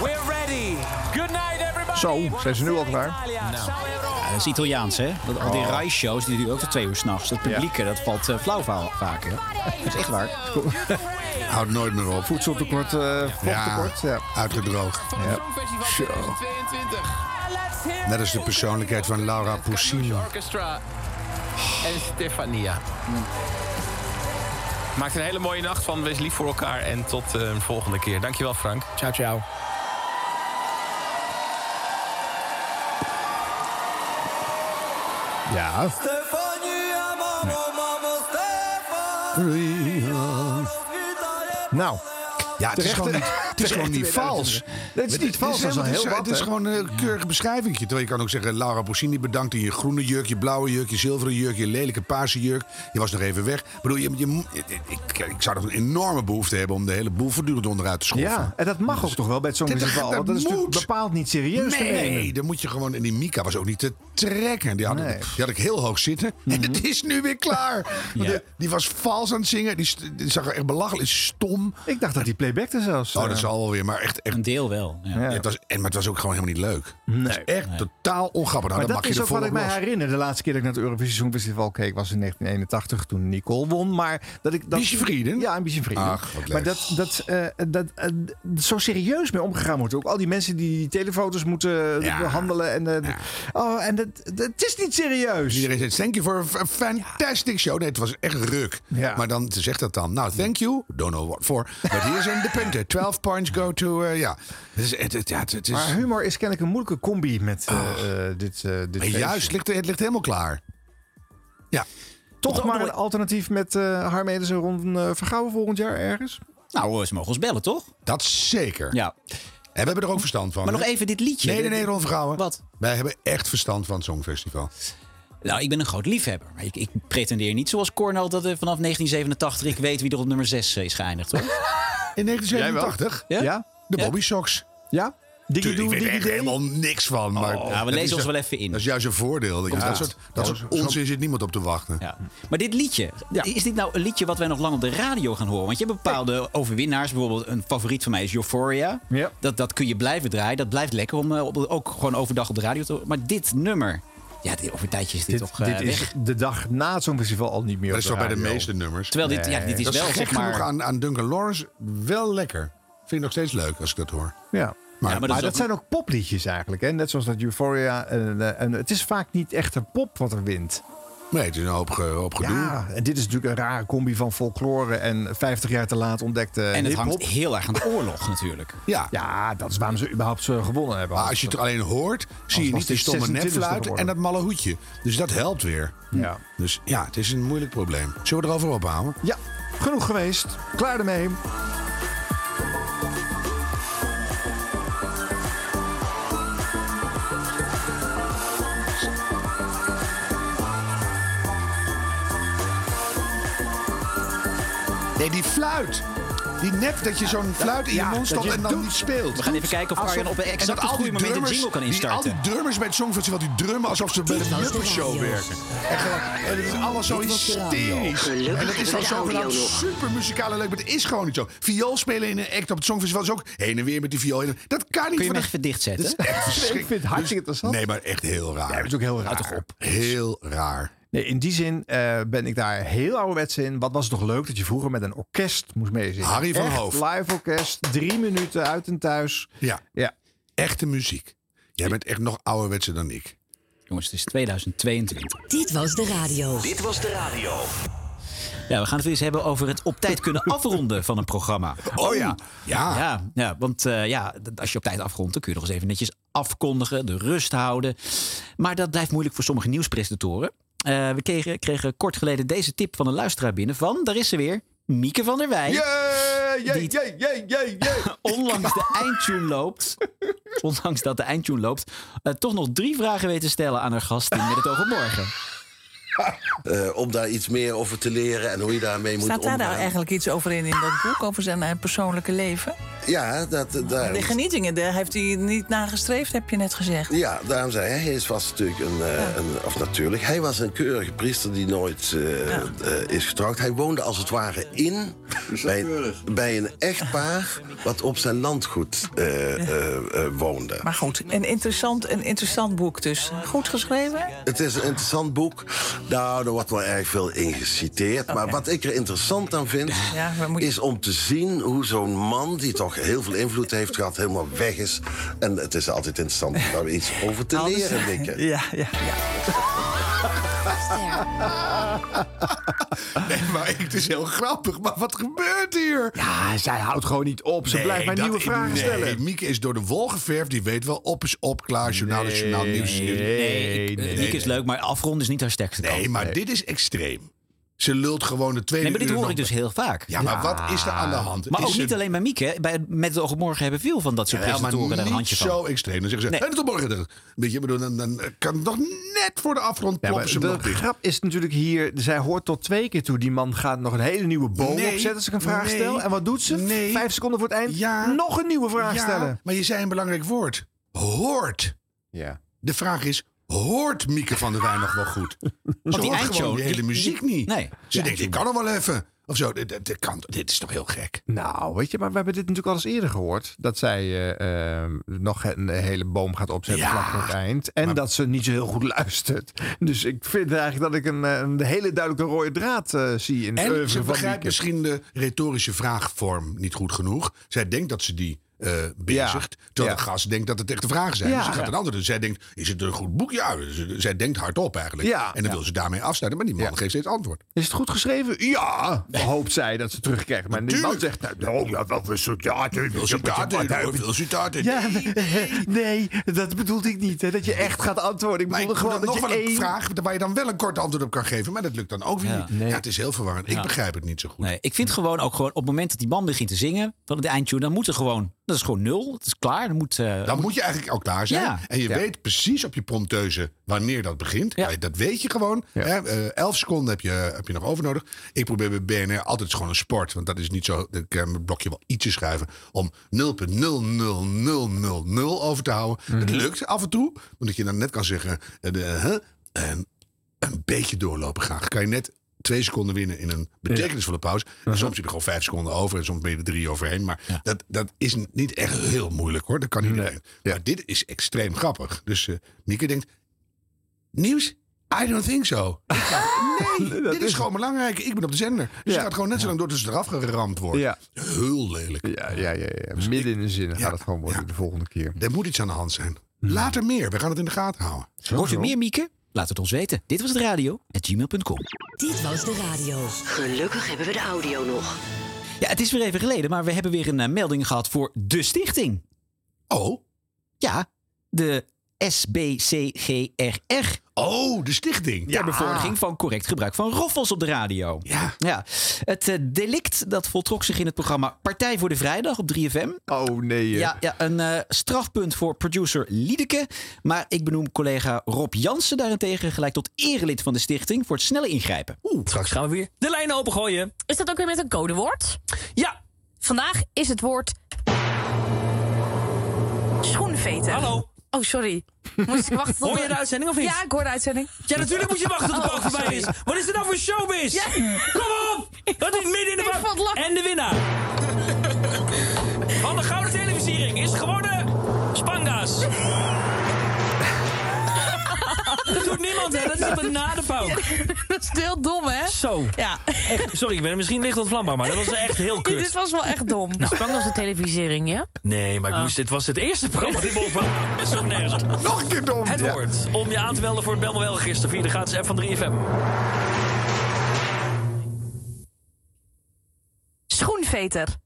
We're ready. Good night, everybody. Zo, zijn ze nu al klaar? Nou, Ja, dat is Italiaans, hè? Dat, al die Oh. reisshows, die duren ook tot twee uur s'nachts. Dat publieke, dat valt eh, flauw va- vaak, hè? Dat is echt waar. [laughs] Houdt nooit meer op. Voedseltekort, eh vochttekort. Ja. Uitgedroogd. Zo. 22. Net als de persoonlijkheid van Laura Poussino. Orchestra en Stefania. Maakt een hele mooie nacht van. Wees lief voor elkaar en tot eh, een volgende keer. Dankjewel Frank. Ciao, ciao. Ja. Nou. Ja, het is Terecht- gewoon niet, het is gewoon niet terecht- vals. Nee, het is niet vals, dat is helemaal- al het heel wat, Het is hè? gewoon een keurige beschrijving. Terwijl je kan ook zeggen, Laura Poussini bedankt in je groene jurk, je blauwe jurk, je zilveren jurk, je lelijke paarse jurk. Je was nog even weg. Ik bedoel, je, je, moet- ik, ik zou toch een enorme behoefte hebben om de hele boel voortdurend onderuit te schoffen. Dus Ja, en dat mag ook toch wel bij het Dit- Songfestival. Want dat is natuurlijk moet. bepaald niet serieus te Nee, nemen. dan moet je gewoon... En die Mika was ook niet te trekken. Die had, Nee. Mhm. die had ik heel hoog zitten. En het is nu weer klaar. Want de- die was vals aan het zingen. Die, st- die zag er echt belachelijk stom. Ik dacht dat die playbackte zelfs. Oh, dat eh, zal wel weer. Maar echt, echt, een deel wel. Ja. het was, en, maar het was ook gewoon helemaal niet leuk. Het is echt totaal ongrappig. Nou, maar dan dat mag is je ook er wat ik volop mij los. herinner. De laatste keer dat ik naar het Eurovisie Songfestival keek was in 1981 toen Nicole won. Maar dat ik dat. vrienden? Ja, een beetje vrienden. Ach, wat leuk. maar dat, dat, eh, dat eh, d- zo serieus mee omgegaan wordt. Ook al die mensen die die telefoto's moeten behandelen. En, eh, Oh, en dat, dat, het is niet serieus. Iedereen zegt, thank you for a f- a fantastic show. Nee, het was echt ruk. Ja. Maar dan zegt dat dan, nou, thank you, don't know what for. But here's in de [laughs] punten. 12 points go to, eh, ja. Het is, het, het- ja, het, het is... Ah. Maar humor is kennelijk een moeilijke combi met eh, eh, dit, eh dit Maar feestje. juist, ligt, het ligt helemaal klaar. Toch maar een alternatief met eh Harm Edens en Ron eh, Vergouwen volgend jaar ergens? Nou, ze mogen ons bellen, toch? Dat zeker. Ja. En we hebben er ook verstand van. Maar hè? nog even dit liedje. Nee, nee, nee, Ron Vergouwen. Wat? Wij hebben echt verstand van het Songfestival. Nou, ik ben een groot liefhebber. Maar ik, ik pretendeer niet zoals Cornel dat eh, vanaf 1987 ik weet wie er op nummer 6 is geëindigd, hoor. In 1987? Ja? De Bobby Sox. Ja? [laughs] Tuurlijk, ik weet er echt helemaal niks van. Maar Ja, Oh, we dat is lezen ons ju- wel even in. Dat is juist een voordeel. Ik- Komt Dat goed. soort, dat Ja, soort zo- onzin zit niemand op te wachten. Ja. Hm. Maar dit liedje, is dit nou een liedje wat wij nog lang op de radio gaan horen? Want je hebt bepaalde overwinnaars. Bijvoorbeeld een favoriet van mij is Euphoria. Dat, dat kun je blijven draaien. Dat blijft lekker om eh, op- ook gewoon overdag op de radio te horen. Maar dit nummer, ja, dit, over een tijdje is dit, toch eh, dit is weg. de dag na het Songfestival al niet meer Dat op is toch bij de radio. meeste nummers. Terwijl dit- ja, dit is dat wel, gek zeg maar- genoeg aan, aan Duncan Lawrence wel lekker. Vind ik nog steeds leuk als ik dat hoor. Ja. Maar, maar dat maar is dat, ook- zijn ook popliedjes eigenlijk. Hè? Net zoals dat Euphoria. En, eh, en het is vaak niet echt een pop wat er wint. Nee, het is een hoop, ge- hoop gedoe. Ja, en dit is natuurlijk een rare combi van folklore en 50 jaar te laat ontdekte En het eh, hiphop. hangt heel erg aan de oorlog natuurlijk. Ja. Ja, dat is waarom ze überhaupt ze gewonnen hebben. Maar als je het alleen hoort, zie je was niet die dit stomme 26e nepfluit geworden. en dat malle hoedje. Dus dat helpt weer. Ja. Dus ja, het is een moeilijk probleem. Zullen we erover ophouden? Ja, genoeg geweest. Klaar ermee. Nee, die fluit. Die nep dat je zo'n fluit in je ja, mond dat stopt je en dan doet. niet speelt. We gaan even kijken of Alsof- Arjan op een en dat exact al het goede die moment de drummers- jingle kan die- instarten. al die drummers bij het Songfestival, die drummen alsof ze bij de Muppet Show werken. En, gewoon- en het is allemaal zo Dit was de radio. hysterisch. Gelukkig En dat is hebben we de dan zogenaamd audio nog. super muzikaal en leuk, maar het is gewoon niet zo. Viool spelen in een act op het Songfestival is ook heen en weer met die viool. Dat kan niet. Kun je van hem de- echt even dichtzetten? Dat is [laughs] echt verschrikkelijk. Dus- Ik vind het hartstikke interessant. Nee, maar echt heel raar. Ja, dat is ook heel raar. Heel raar. Nee, in die zin eh, ben ik daar heel ouderwets in. Wat was het toch leuk dat je vroeger met een orkest moest meezingen. Harry van Echt Hoof. Live orkest, drie minuten uit en thuis. Ja. ja. Echte muziek. Jij bent echt nog ouderwetser dan ik. Jongens, het is 2022. Dit was de radio. Dit was de radio. Ja, we gaan het weer eens hebben over het op tijd [laughs] kunnen afronden van een programma. Oh ja. Ja, ja, want eh, ja, d- als je op tijd afrondt, dan kun je nog eens even netjes afkondigen, de rust houden. Maar dat blijft moeilijk voor sommige nieuwspresentatoren. Eh, we kregen, kregen kort geleden deze tip van een luisteraar binnen van, daar is ze weer, Mieke van der Wij. Jee, jee, jee, jee, jee, jee. [laughs] Ondanks de eindtune loopt, ondanks dat de eindtune loopt, eh, toch nog drie vragen weten stellen aan haar gast in Met het Oog op Morgen. Eh, om daar iets meer over te leren en hoe je daarmee moet Staat daar omgaan. nou eigenlijk iets over in, in dat boek, over zijn eh, persoonlijke leven? Ja, dat, daar... De genietingen, daar heeft hij niet naar gestreefd, heb je net gezegd. Ja, daarom zei hij, hij is vast natuurlijk een, eh, een- Of natuurlijk, hij was een keurige priester die nooit eh, eh, is getrouwd. Hij woonde als het ware in bij, bij een echtpaar... wat op zijn landgoed eh, eh, eh, woonde. Maar goed, een interessant, een interessant boek dus. Goed geschreven? Het is een interessant boek. Nou, er wordt wel erg veel in geciteerd. Maar wat ik er interessant aan vind, Ja, we moeten- is om te zien hoe zo'n man... die toch heel veel invloed heeft gehad, helemaal weg is. En het is altijd interessant om daar iets over te Alles- leren, Dikke. [laughs] Ja, ja. [laughs] Nee, maar ik- het is heel grappig. Maar wat gebeurt hier? Ja, zij houdt gewoon niet op. Ze Nee, blijft maar dat- nieuwe vragen nee, stellen. Mieke is door de wol geverfd. Die weet wel op is op, klaar, journaal is journaal, nieuws is nieuws. nee, ik- eh, Mieke is leuk, maar afronden is niet haar sterkste kant. Nee, maar dit is extreem. Ze lult gewoon de tweede Nee, maar dit uur eh, hoor nog- ik dus heel vaak. Ja, maar wat is er aan de hand? Maar Is ook niet het- alleen bij Mieke. hè. Bij, met het oog op morgen hebben veel van dat soort Ja, maar presentatoren daar een niet handje van. zo extreem. Dan zeggen ze, Nee. en tot morgen. dan." Weet je, ik bedoel, dan, dan kan het nog net voor de afgrond Ja, ploppen maar ze hem de nog dicht. grap is natuurlijk hier, zij hoort tot twee keer toe. Die man gaat nog een hele nieuwe boom Nee, opzetten als ik een vraag nee, stel. En wat doet ze? nee. Vijf seconden voor het eind, Ja. nog een nieuwe vraag Ja, stellen. maar je zei een belangrijk woord. Hoort. Ja. De vraag is, hoort [laughs] Mieke van der Wij nog wel goed? Ze Want die hoort gewoon eindshow, die hele die- muziek niet. Nee. Ze denkt, ik kan er wel even. Of zo, dit, dit, kan, dit is toch heel gek. Nou, weet je, maar we hebben dit natuurlijk al eens eerder gehoord. Dat zij eh, eh, nog een hele boom gaat opzetten Ja. vlak voor het eind. En dat ze niet zo heel goed luistert. [laughs] Dus ik vind eigenlijk dat ik een, eh, een hele duidelijke rode draad eh, zie in het En oeuvre ze van begrijpt Wieken. misschien de retorische vraagvorm niet goed genoeg. Zij denkt dat ze die eh bezigt. Terwijl de gast denkt dat het echte vragen zijn. Ja. Dus ze gaat Ja. een andere doen. Zij denkt, is het een goed boek? Ja, ze- zij denkt hardop eigenlijk. Ja. En dan wil ze daarmee afsluiten. Maar die man geeft steeds antwoord. Is het goed geschreven? Ja, hoopt zij dat ze terugkrijgt. Maar die man zegt, nou, nou ja, wel een soldaat. Veel citaten, hoor, veel citaten. Ja, nee, dat bedoelde ik niet. Hè, dat je echt gaat antwoorden. Ik Maar ik bedoelde moet dan gewoon nog dat je wel één... een vraag waar je dan wel een kort antwoord op kan geven. Maar dat lukt dan ook weer Ja. niet. Nee. Ja, het is heel verwarrend. Ik Ja. begrijp het niet zo goed. Nee, ik vind gewoon ook gewoon op het moment dat die man begint te zingen van het eindtune, dan moet er gewoon, dat is gewoon nul, dat is klaar. Dan moet, eh, Dan moet je eigenlijk al klaar zijn. Ja. En je Ja. weet precies op je prompteuze wanneer dat begint. Ja, Dat weet je gewoon. Hè? eh, elf seconden heb je, heb je nog over nodig. Ik probeer bij BNR altijd het is gewoon een sport. Want dat is niet zo. Ik kan mijn blokje wel ietsje schuiven. Om 0,00000 over te houden. Het lukt af en toe. Omdat je dan net kan zeggen. eh, de, eh, huh? en een beetje doorlopen graag. Kan je net twee seconden winnen in een betekenisvolle pauze. En soms heb je gewoon vijf seconden over en soms ben je er drie overheen. Maar dat, dat is n- niet echt heel moeilijk hoor. Dat kan iedereen. Maar dit is extreem grappig. Dus eh Mieke denkt, nieuws? I don't think so. Ik [laughs] ga- Nee, dit is gewoon belangrijk. Ik ben op de zender. Dus je gaat gewoon net zo lang door dat ze eraf geramd worden. Ja. Heel lelijk. Ja, ja, ja, ja. midden in de zin gaat het gewoon worden de volgende keer. Er moet iets aan de hand zijn. Later meer. We gaan het in de gaten houden. Hmm. Hoort u meer Mieke? Laat het ons weten. Dit was het radio, at gmail.com. Dit was de radio. Gelukkig hebben we de audio nog. Ja, het is weer even geleden, maar we hebben weer een eh, melding gehad voor de stichting. Oh? Ja, de SBCGRR. Oh, de stichting. Ter bevordering van correct gebruik van roffels op de radio. Ja. ja. Het eh, delict dat voltrok zich in het programma Partij voor de Vrijdag op 3FM. Oh nee. eh. Ja, ja een eh, strafpunt voor producer Liedeke. Maar ik benoem collega Rob Jansen daarentegen gelijk tot erelid van de stichting voor het snelle ingrijpen. Straks gaan we weer de lijn opengooien. Is dat ook weer met een codewoord? Ja. Vandaag is het woord... Schoenveter. Hallo. Oh, sorry. Moest ik wachten [laughs] tot... Hoor je de uitzending of niet? Ja, ik hoor de uitzending. Ja, natuurlijk moet je wachten tot de bank voorbij is. Wat is dit nou voor showbiz? Ja. Kom op! Dat is midden in de bank. En de winnaar van de gouden televisiering is geworden Spanga's. Dat doet niemand, hè? Dat is op een [laughs] nadenpauk. Dat is heel dom, hè? Zo. Ja. Echt, sorry, ik ben misschien licht ontvlambaar, maar dat was echt [laughs] heel Ja, Dit kut. was wel echt dom. Nou. Spannend de televisering, ja? Nee, maar ik Oh. moest, dit was het eerste programma die we op- [laughs] Dat is ook Ah. nergens. op. Nog een keer dom. Het woord om je aan te melden voor het Belmo wel gisteren via de gratis app van 3FM. Schoenveter.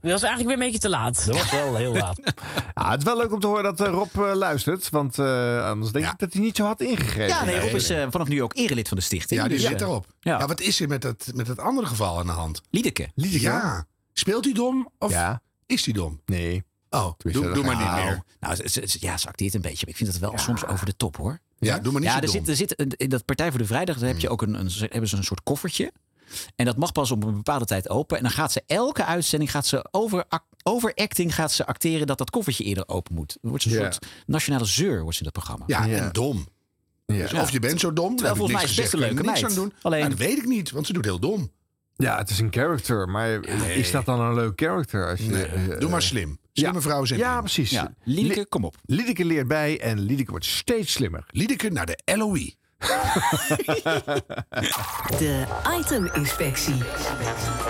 Dat was eigenlijk weer een beetje te laat. Dat was wel heel laat. [laughs] Ja, Ah, het is wel leuk om te horen dat eh, Rob eh, luistert. Want eh, anders denk ik dat hij niet zo had ingegrepen. Ja, nee, Rob is eh, vanaf nu ook erelid van de stichting. Ja, die Dus, zit eh, erop. Ja. Maar wat is er met dat, met dat andere geval aan de hand? Liedeke. Ja. Speelt hij dom of Ja. is hij dom? Nee. Oh, Tenminste, doe, dat- doe maar niet nou, meer. Nou, ze- ze- ze- ja, ze acteert een beetje. Maar ik vind het wel soms over de top, hoor. Ja, doe maar niet ja, zo er dom. Mm. zit, er zit een- in dat Partij voor de Vrijdag daar heb je ook een, een, ze- hebben ze een soort koffertje. En dat mag pas op een bepaalde tijd open. En dan gaat ze elke uitzending gaat ze over, ac- overacting gaat ze acteren dat dat koffertje eerder open moet. Dan wordt ze een Ja. soort nationale zeur wordt ze in dat programma. Ja, en dom. Dus of je bent zo dom, daar heb Terwijl ik volgens mij niks is het best gezegd, een kun je er niks leuke meid. aan doen. Alleen- Nou, dat weet ik niet, want ze doet heel dom. Ja, het is een character. Maar is dat dan een leuk character? Als je, eh, Doe eh, maar slim. Slimme vrouwen zijn Ja, slim. precies. Ja. Liedeke, Li- kom op. Liedeke leert bij en Liedeke wordt steeds slimmer. Liedeke naar de [laughs] LOE. De iteminspectie.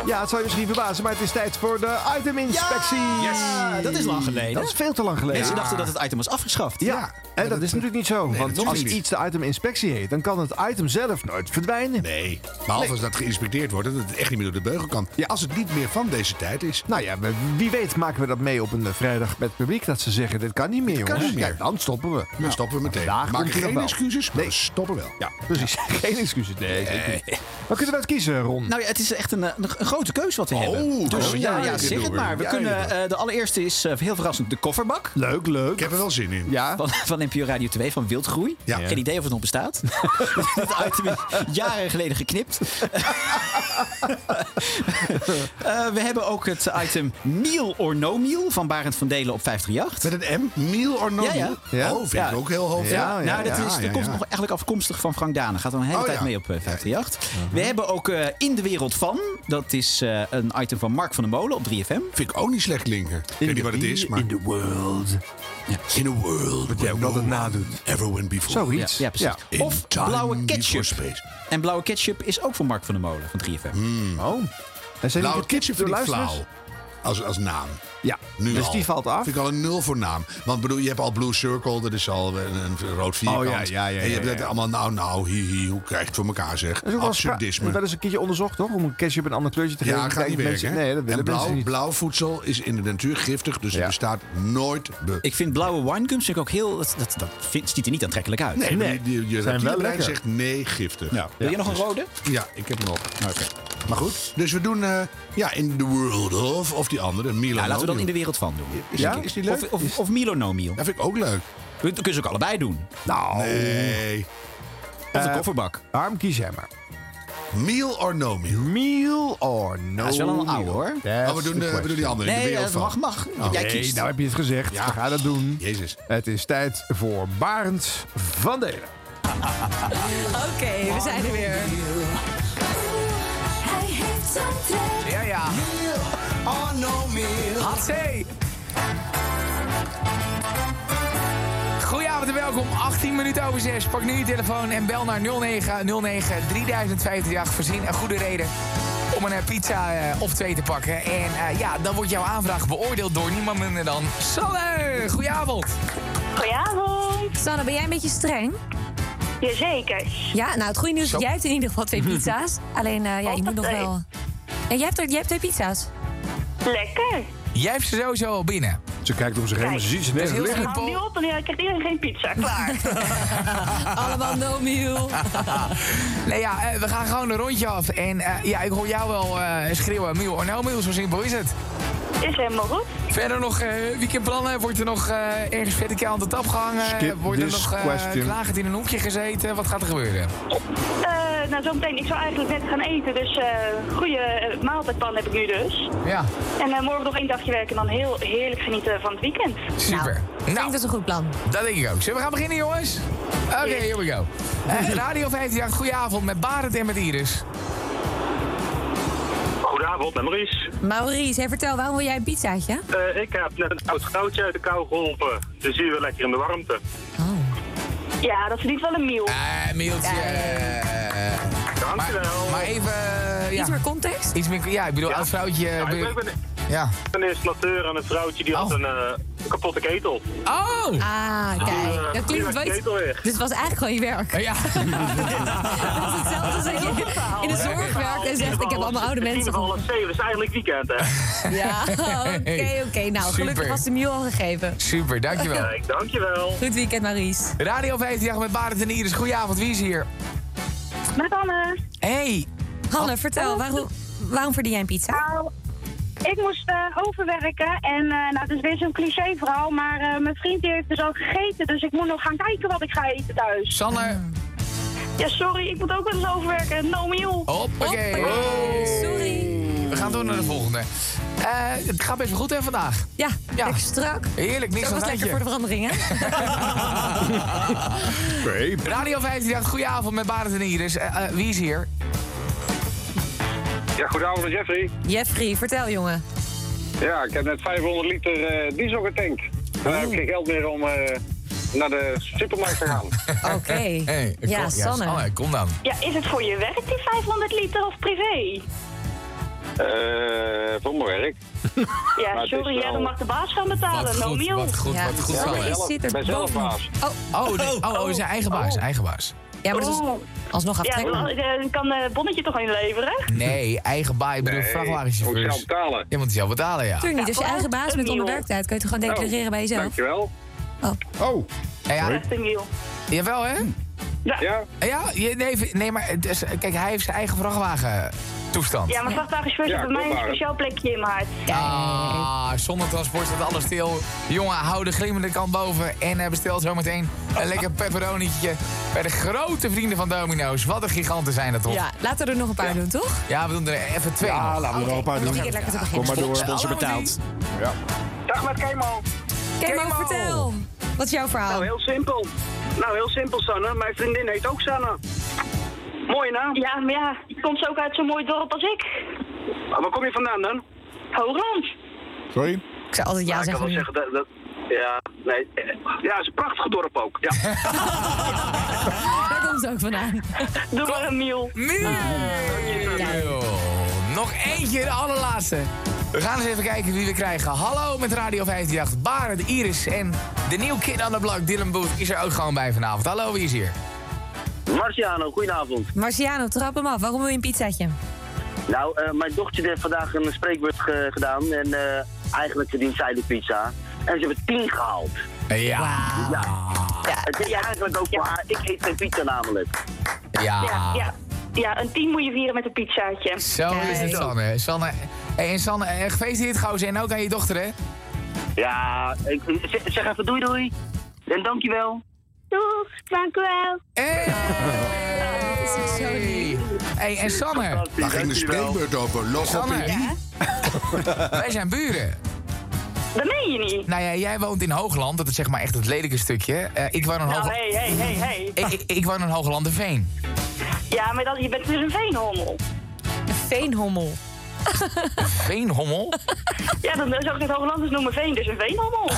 Ja, het zou je misschien verbazen, maar het is tijd voor de iteminspectie. Ja, dat is lang geleden. Dat is veel te lang geleden. Mensen dachten dat het item was afgeschaft. Ja, en dat, is natuurlijk niet zo. want dat is als niet. iets de iteminspectie heet, dan kan het item zelf nooit verdwijnen. Nee, behalve als dat geïnspecteerd wordt, dat het echt niet meer door de beugel kan. Als het niet meer van deze tijd is. Nou ja, we- wie weet maken we dat mee op een eh, vrijdag met het publiek. Dat ze zeggen, dit kan niet meer, kan jongens. niet meer. Kijk, dan stoppen we. Nou, Dan stoppen we meteen. Vandaag Maak komt hij nog geen wel. excuses, maar we stoppen wel. Ja, precies. [laughs] Geen excuses. Nee, zeker niet. Wat kunnen we uit kiezen, Ron? Nou ja, het is echt een, eh, een, een grote keus wat we oh, hebben. Dus oh, ja, ja, ja, dit zeg doen het we. maar. We Ja, kunnen, inderdaad. eh, de allereerste is eh, heel verrassend de kofferbak. Leuk, leuk. Ik heb er wel zin in. Ja. Van, van NPO Radio 2 van Wildgroei. Geen idee of het nog bestaat. [laughs] Dit item is jaren geleden geknipt. [laughs] Eh, we hebben ook het item Meal or No Meal van Barend van Delen op 538. Met een M? Meal or No ja, ja. Meal? Oh, vind ik ook heel hoog. Ja, Ja, ja, nou, dat, ja, is, dat ja, komt ja. nog eigenlijk afkomstig 50 van Frank Dane. Gaat dan een hele Oh, tijd ja. mee op eh, 538. Uh-huh. We hebben ook eh, In de Wereld Van. Dat is eh, een item van Mark van der Molen op 3FM. Vind ik ook niet slecht klinken. Ik weet niet wat het is, maar... In the world. In a world Wat jij ook altijd nadoet. Everyone before. Zoiets. Ja, ja, precies. In Of time blauwe ketchup. before space. En blauwe ketchup is ook van Mark van der Molen van 3FM. Oh. En zijn Blauwe die Hmm. ketchup getipt door vind ik luisteraars? flauw. Als, als naam. Ja, nu dus al. die valt af. Vind ik al een nul voor naam. Want bedoel, je hebt al Blue Circle, dat is al een, een rood vierkant. Oh, ja, ja, ja, en je ja, hebt ja, dat ja. allemaal, nou, nou, hi, hi, hoe krijg je het voor elkaar, zeg. Er is ook wel eens pra- Absurdisme. Wel eens een keertje onderzocht, toch? Om een ketchup een ander kleurtje te geven. Ja, gaat niet Kijken mensen- werken. hè? Nee, dat willen en mensen blauw, niet. blauw voedsel is in de natuur giftig, dus het bestaat nooit. Be Ik vind blauwe winegums vind ik ook heel... Dat, dat, dat vind- ziet er niet aantrekkelijk uit. nee, maar je- Je, je Zijn wel reptielenbrein lekker. zegt nee, giftig. Ja. Wil je nog een Dus- rode? Ja, ik heb nog. Maar goed, dus we doen eh, ja, in the world of, of die andere, Milo. Ja, laten we dan dan in de wereld van doen. Is, die, is die leuk? Of, of, of Milo no Milo. Dat vind ik ook leuk. Dat kun je ze ook allebei doen. Nou. Nee. Of de Eh, kofferbak. Harm, kies jij maar. Meal or no meal? Meal or no meal. Dat is wel een oude, hoor. eh, Oh, we doen de- we doen die andere, in de Nee, wereld dat van. mag, mag. Oh. Jij nee, kiest. nou heb je het gezegd. Ja. We gaan dat doen. Jezus. Het is tijd voor Barend van Delen. Oké, we zijn er weer. Hij heeft zijn trek. Ja, ja. Oh, no meal. Hatsé! Goedenavond en welkom. 18 minuten over 6. Pak nu je telefoon en bel naar 0909 3058 Voorzien een goede reden om een eh, pizza eh, of twee te pakken. En eh, ja, dan wordt jouw aanvraag beoordeeld door niemand minder dan Sanne. Goedenavond. Goedenavond. Sanne, ben jij een beetje streng? Jazeker. Ja, nou het goede nieuws is, jij hebt in ieder geval [laughs] twee pizza's. Alleen, eh, ja, Oh, je moet nog wel... Ja, jij, hebt er, jij hebt twee pizza's. Lekker. Jij hebt ze sowieso al binnen. Ze kijkt om zich heen, maar ze ziet ze nergens liggen. simpel. nu op en ik krijg iedereen geen pizza. [laughs] Klaar. Allemaal no meal. nee, ja, eh, we gaan gewoon een rondje af. En eh, ja, ik hoor jou wel eh, schreeuwen. Miel or no Miel, zo simpel is het. Is helemaal goed. Verder nog eh, weekendplannen. Wordt er nog eh, ergens verticaal aan de tap gehangen? Skip Wordt er this nog eh, question. klagend in een hoekje gezeten? Wat gaat er gebeuren? Eh, nou, zometeen. Ik zou eigenlijk net gaan eten, dus eh goede eh, maaltijdpan heb ik nu dus. Ja. En eh, morgen nog één dagje werken en dan heel heerlijk genieten van het weekend. Super. Nou. Ik denk dat is Nou, een goed plan. Dat denk ik ook. Zullen we gaan beginnen, jongens? Oké, here we go. Eh, Radio 158, goedenavond met Barend en met Iris. Goedenavond, met Maurice. Maurice, hey, vertel, waarom wil jij een pizzaatje? Eh, ik heb net een oud vrouwtje uit de kou geholpen. Dus hier weer lekker in de warmte. Ja, dat verdient wel een meal. Eh, Mieltje. Dankjewel. Maar even... eh, ja. Iets meer context? Iets meer, ja, ik bedoel, oud vrouwtje... eh, Ja, bedoel- ik ben ja. een installateur en een vrouwtje die had een eh, kapotte ketel. Oh! Ah, kijk. Dat klinkt wel iets... Dit was eigenlijk gewoon je werk. Oh, Ja. [laughs] dat is hetzelfde als dat je in de zorg werkt en zegt... ik heb allemaal oude mensen geholpen. Het is in ieder geval half zeven, het is eigenlijk weekend, hè? [laughs] Ja, [laughs] oké, oké. Nou, gelukkig Super. was de meal al gegeven. Super, dankjewel. Kijk, dankjewel. Goed weekend, Maries. Radio 158 met Barend en Iris. Goedenavond, wie is hier? Met Anne. Oh. Hey. Oh. Hanne, vertel, waarom, waarom verdien jij een pizza? Nou, ik moest eh, overwerken en eh, nou, het is weer zo'n cliché verhaal, maar eh, mijn vriend die heeft dus al gegeten, dus ik moet nog gaan kijken wat ik ga eten thuis. Sanne. Ja, sorry, ik moet ook wel eens overwerken. No meal. Hoppakee. Sorry. We gaan door naar de volgende. Eh, het gaat best wel goed, hè, vandaag? Ja, lekker strak. Heerlijk, niks Zo aan was het lekker handje. [laughs] voor de verandering, hè? Radio 158, goedenavond met Barend en Iris. Eh, eh, wie is hier? Ja, goedenavond, Jeffrey. Jeffrey, vertel, jongen. Ja, ik heb net 500 liter eh, diesel getankt. Oh. En dan heb ik geen geld meer om eh, naar de supermarkt te gaan. Oké. Hey, Ja, Sanne. kom dan. Ja, is het voor je werk die 500 liter of privé? Eh, voor mijn werk. Maar Ja, het sorry, is ja, wel- dan mag de baas gaan betalen. Wat no goed, meal. wat goed, wat goed. Sanne. Is dit er ben zelf boven? baas. Oh, Oh, nee. oh, oh, zijn eigen baas, eigen baas. Ja, maar dat is alsnog Oh. Ja, aftrekken. dan eh, kan het bonnetje toch inleveren? Nee, eigen baas, ik bedoel Nee, vrachtwagenchauffeurs. moet je zelf betalen. Je moet zelf betalen, ja. Tuurlijk niet. Als je Ja, eigen echt baas een bent onder deal. werktijd, kun je het gewoon Oh, declareren bij jezelf. Dankjewel. Oh. Ja, ja. Echt een meal. Jawel, hè? Ja. Ja, je- nee, v- nee, maar het is- kijk, hij heeft zijn eigen vrachtwagen toestand. Ja, maar vrachtwagenchauffeurs Ja, hebben bij mij klopt, een speciaal Arend. plekje in mijn hart. Ah, zonder transport staat alles stil. Jongen, hou de glimmende kant boven en eh, bestel zometeen een lekker pepperonietje bij de grote vrienden van Domino's. Wat een giganten zijn dat toch? Ja, laten we er nog een paar doen, toch? Ja, we doen er even twee. Ja, nog. laten we er nog een paar om nog doen. een keer lekker te Ja, beginnen. Kom maar door. Sponsor betaald. Dag met Kemo. Kemo, vertel. Wat is jouw verhaal? Nou, heel simpel. Nou, heel simpel, Sanne. Mijn vriendin heet ook Sanne. Mooie naam. Ja, maar ja, komt ze ook uit zo'n mooi dorp als ik. Oh, waar kom je vandaan dan? Holland. Sorry? Ik zou altijd ik ja kan zeggen. wel nu. zeggen dat... dat- ja, nee. eh, Ja, het is een prachtig dorp ook. Ja. [laughs] Daar komt ze ook [laughs] vandaan. Doe maar een Miel. Miel! Nog eentje, de allerlaatste. We gaan eens even kijken wie we krijgen. Hallo met Radio 538, Barend, Iris en de nieuw kid aan de blok, Dylan Booth, is er ook gewoon bij vanavond. Hallo, wie is hier? Marciano, goedenavond. Marciano, trap hem af. Waarom wil je een pizzaatje? Nou, eh, mijn dochtertje heeft vandaag een spreekbeurt ge- gedaan. En eh, eigenlijk verdient zij de pizza. En ze hebben tien gehaald. Ja. ja. Het is eigenlijk ook voor haar. Ik eet geen pizza namelijk. Ja. Ja, ja. Ja, een team moet je vieren met een pizzaatje. Zo is het, Sanne. Sanne. Hey, en Sanne, eh, gefeliciteerd gozer en ook aan je dochter, hè? Ja, ik, zeg- zeg even doei doei. En dankjewel. Doeg, dank u wel. Hey, en Sanne. Daar ging de spreekbeurt over. Logopedie. [laughs] Eh, Wij zijn buren. Dat meen je niet. Nou ja, jij woont in Hoogland. Dat is zeg maar echt het lelijke stukje. Eh, ik woon in Nou, Hoogland. hey, hey, hey, hey. Ik, ik, ik woon in Hooglanderveen. Ja, maar dat, je bent dus een veenhommel. Een veenhommel? Veenhommel? [laughs] Ja, dan zou ik het Hooglanders noemen veen, dus een [laughs] veenhommel.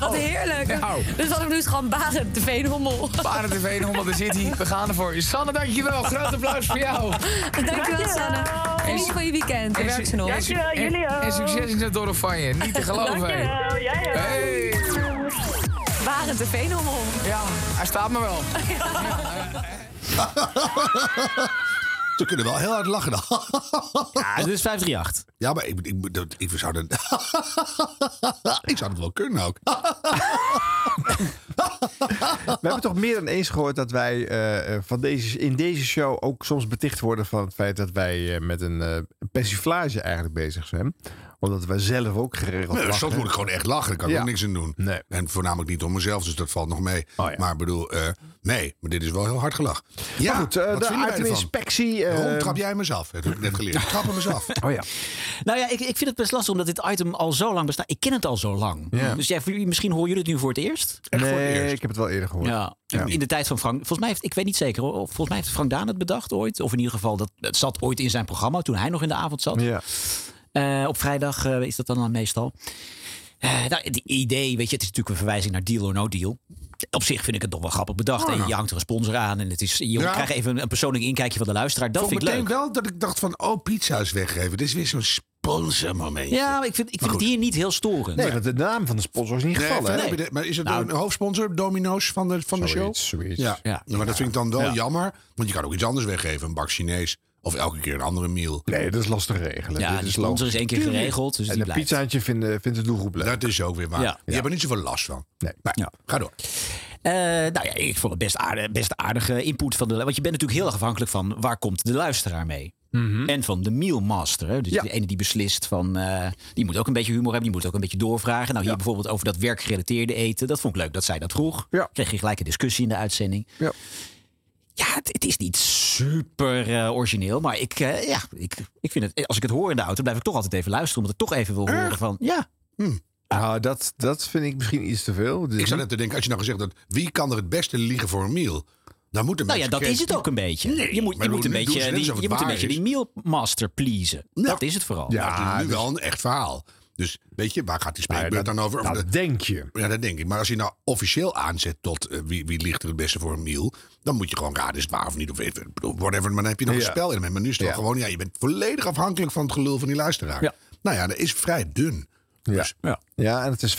Wat heerlijk. nou. Dus wat ik nu is gewoon Barend de Veenhommel. Barend de Veenhommel, daar zit hij. We gaan ervoor. Sanne, dankjewel. Groot applaus voor jou. Dankjewel, Sanne. Geniet van je weekend. En werk ze nog. en- En succes in het dorp van je. Niet te geloven. Dankjewel, jij ook. Hey. Barend de Veenhommel. Ja, hij staat me wel. [laughs] [laughs] Ze kunnen wel heel hard lachen dan. Ja, dit is 538. Ja, maar ik, ik, dat- ik zou dat... [laughs] ik zou dat wel kunnen ook. [laughs] We hebben toch meer dan eens gehoord dat wij eh, eh, van deze, in deze show ook soms beticht worden van het feit dat wij eh, met een eh, persiflage eigenlijk bezig zijn. Omdat wij zelf ook geregeld Nee, lachen. soms moet ik gewoon echt lachen. Daar kan ik Ja. ook niks aan doen. En voornamelijk niet om mezelf, dus dat valt nog mee. Oh, Maar ik bedoel, eh, nee, maar dit is wel heel hard gelach. Ja, goed, eh, wat de vinden wij ervan? iteminspectie, eh, Waarom trap jij mezelf? Dat heb ik net geleerd. Ik trap hem eens af. [laughs] Oh ja. Nou ja, ik, ik vind het best lastig omdat dit item al zo lang bestaat. Ik ken het al zo lang. Ja. Dus jij, voor jullie- misschien horen jullie het nu voor het eerst? Nee, ik heb het wel eerder gehoord. Ja, in- in de tijd van Frank. Volgens mij heeft, ik weet niet zeker hoor. Volgens mij heeft Frank Daan het bedacht ooit. Of in ieder geval, dat, het zat ooit in zijn programma toen hij nog in de avond zat. Eh, op vrijdag eh, is dat dan, dan meestal. Eh nou, het idee, weet je, het is natuurlijk een verwijzing naar Deal or No Deal. Op zich vind ik het toch wel grappig bedacht. Oh, Ja. En je hangt er een sponsor aan en het is, je Ja. krijgt even een persoonlijk inkijkje van de luisteraar. Dat Vond vind ik meteen leuk. wel dat ik dacht van, oh, pizza's weggeven. Dit is weer zo'n sponsormomentje. Ja, maar Nou, ik vind, ik Maar vind het goed. hier niet heel storend. Nee, want de naam van de sponsor is niet Nee, gevallen. nee, hè? maar- Maar is het Nou, een hoofdsponsor, Domino's, van de, van de show? Zoiets, zoiets. Ja. Ja. Nou, maar dat vind ik dan wel Ja. jammer. Want je kan ook iets anders weggeven. Een bak Chinees. Of elke keer een andere meal. Nee, dat is lastig regelen. Ja, Dit die is sponsor logisch. is één keer Tuurlijk. geregeld, dus en die een blijft. pizzaatje vindt, vindt de doelgroep leuk. Dat is ook weer waar. Ja. Je hebt er niet zoveel last van. Nee. Ga door. Eh, nou ja, ik vond het best, aardig, best aardige input van de. Want je bent natuurlijk heel erg afhankelijk van waar komt de luisteraar mee. Mhm. En van de mealmaster. hè. Dus de ene die beslist van. eh, die moet ook een beetje humor hebben. Die moet ook een beetje doorvragen. Nou, hier bijvoorbeeld over dat werkgerelateerde eten. Dat vond ik leuk dat zij dat vroeg. Kreeg je gelijk een discussie in de uitzending. Ja, het, het is niet super eh, origineel. Maar ik, eh, ja, ik, ik vind het. Als ik het hoor in de auto, blijf ik toch altijd even luisteren. Omdat ik toch even wil horen van. Ja. Nou, dat, dat vind ik misschien iets te veel. Hmm. Dus Ik zat net te denken, als je nou gezegd had... wie kan er het beste liegen voor een meal? Dan moeten Nou ja, mensen dat is het ook een beetje. Nee, je moet, maar je moet nu een doen ze net beetje, die, alsof het je moet een waar beetje is. die mealmaster pleasen. Dat is het vooral. Ja, het is nu wel een echt verhaal. Dus weet je, waar gaat die spreekbeurt dan over? dat denk je. Ja, dat denk ik. Maar als je nou officieel aanzet tot eh, wie, wie ligt er het beste voor een meal... dan moet je gewoon raden, is het waar of niet? Of eh, whatever, maar dan heb je nog Ja. een spel in. Maar nu is het wel Ja. gewoon, ja, je bent volledig afhankelijk van het gelul van die luisteraar. Nou ja, dat is vrij dun. Dus- Ja. Ja. en het is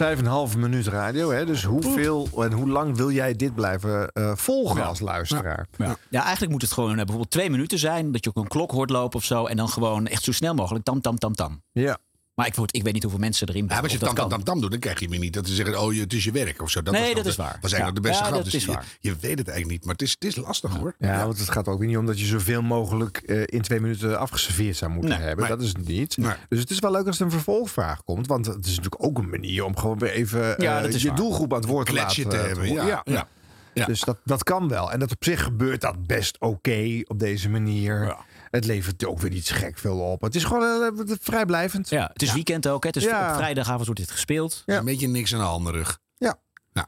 5,5 minuut radio. Hè? Dus hoeveel en hoe lang wil jij dit blijven eh, volgen als luisteraar? Ja. Ja, eigenlijk moet het gewoon eh, bijvoorbeeld twee minuten zijn. Dat je ook een klok hoort lopen of zo. En dan gewoon echt zo snel mogelijk tam, tam, tam, tam. Ja. Maar ik, word, ik weet niet hoeveel mensen erin Ja, maar als je of dat tam, tam, kan. tam, tam doet, dan krijg je weer niet dat ze zeggen... oh, je- het is je werk of zo. Nee, was nog dat is de- waar. was eigenlijk Ja. de beste Ja, grap. dat Dus is je, waar. je weet het eigenlijk niet, maar het is, het is lastig hoor. Ja, want het gaat ook weer niet om dat je zoveel mogelijk eh, in twee minuten afgeserveerd zou moeten hebben. dat is het niet. Dus het is wel leuk als er een vervolgvraag komt. Want het is natuurlijk ook een manier om gewoon weer even eh, Ja, dat is je waar. doelgroep aan het woord te laten. Kletsje te hebben, horen. ja, ja. Dus dat, dat kan wel. En dat op zich gebeurt dat best oké op deze manier. Het levert ook weer iets gek veel op. Het is gewoon eh, vrijblijvend. Ja, het is weekend ook. Hè? Het is Ja. op vrijdagavond wordt dit gespeeld. Een beetje niks aan de andere. Ja. Nou,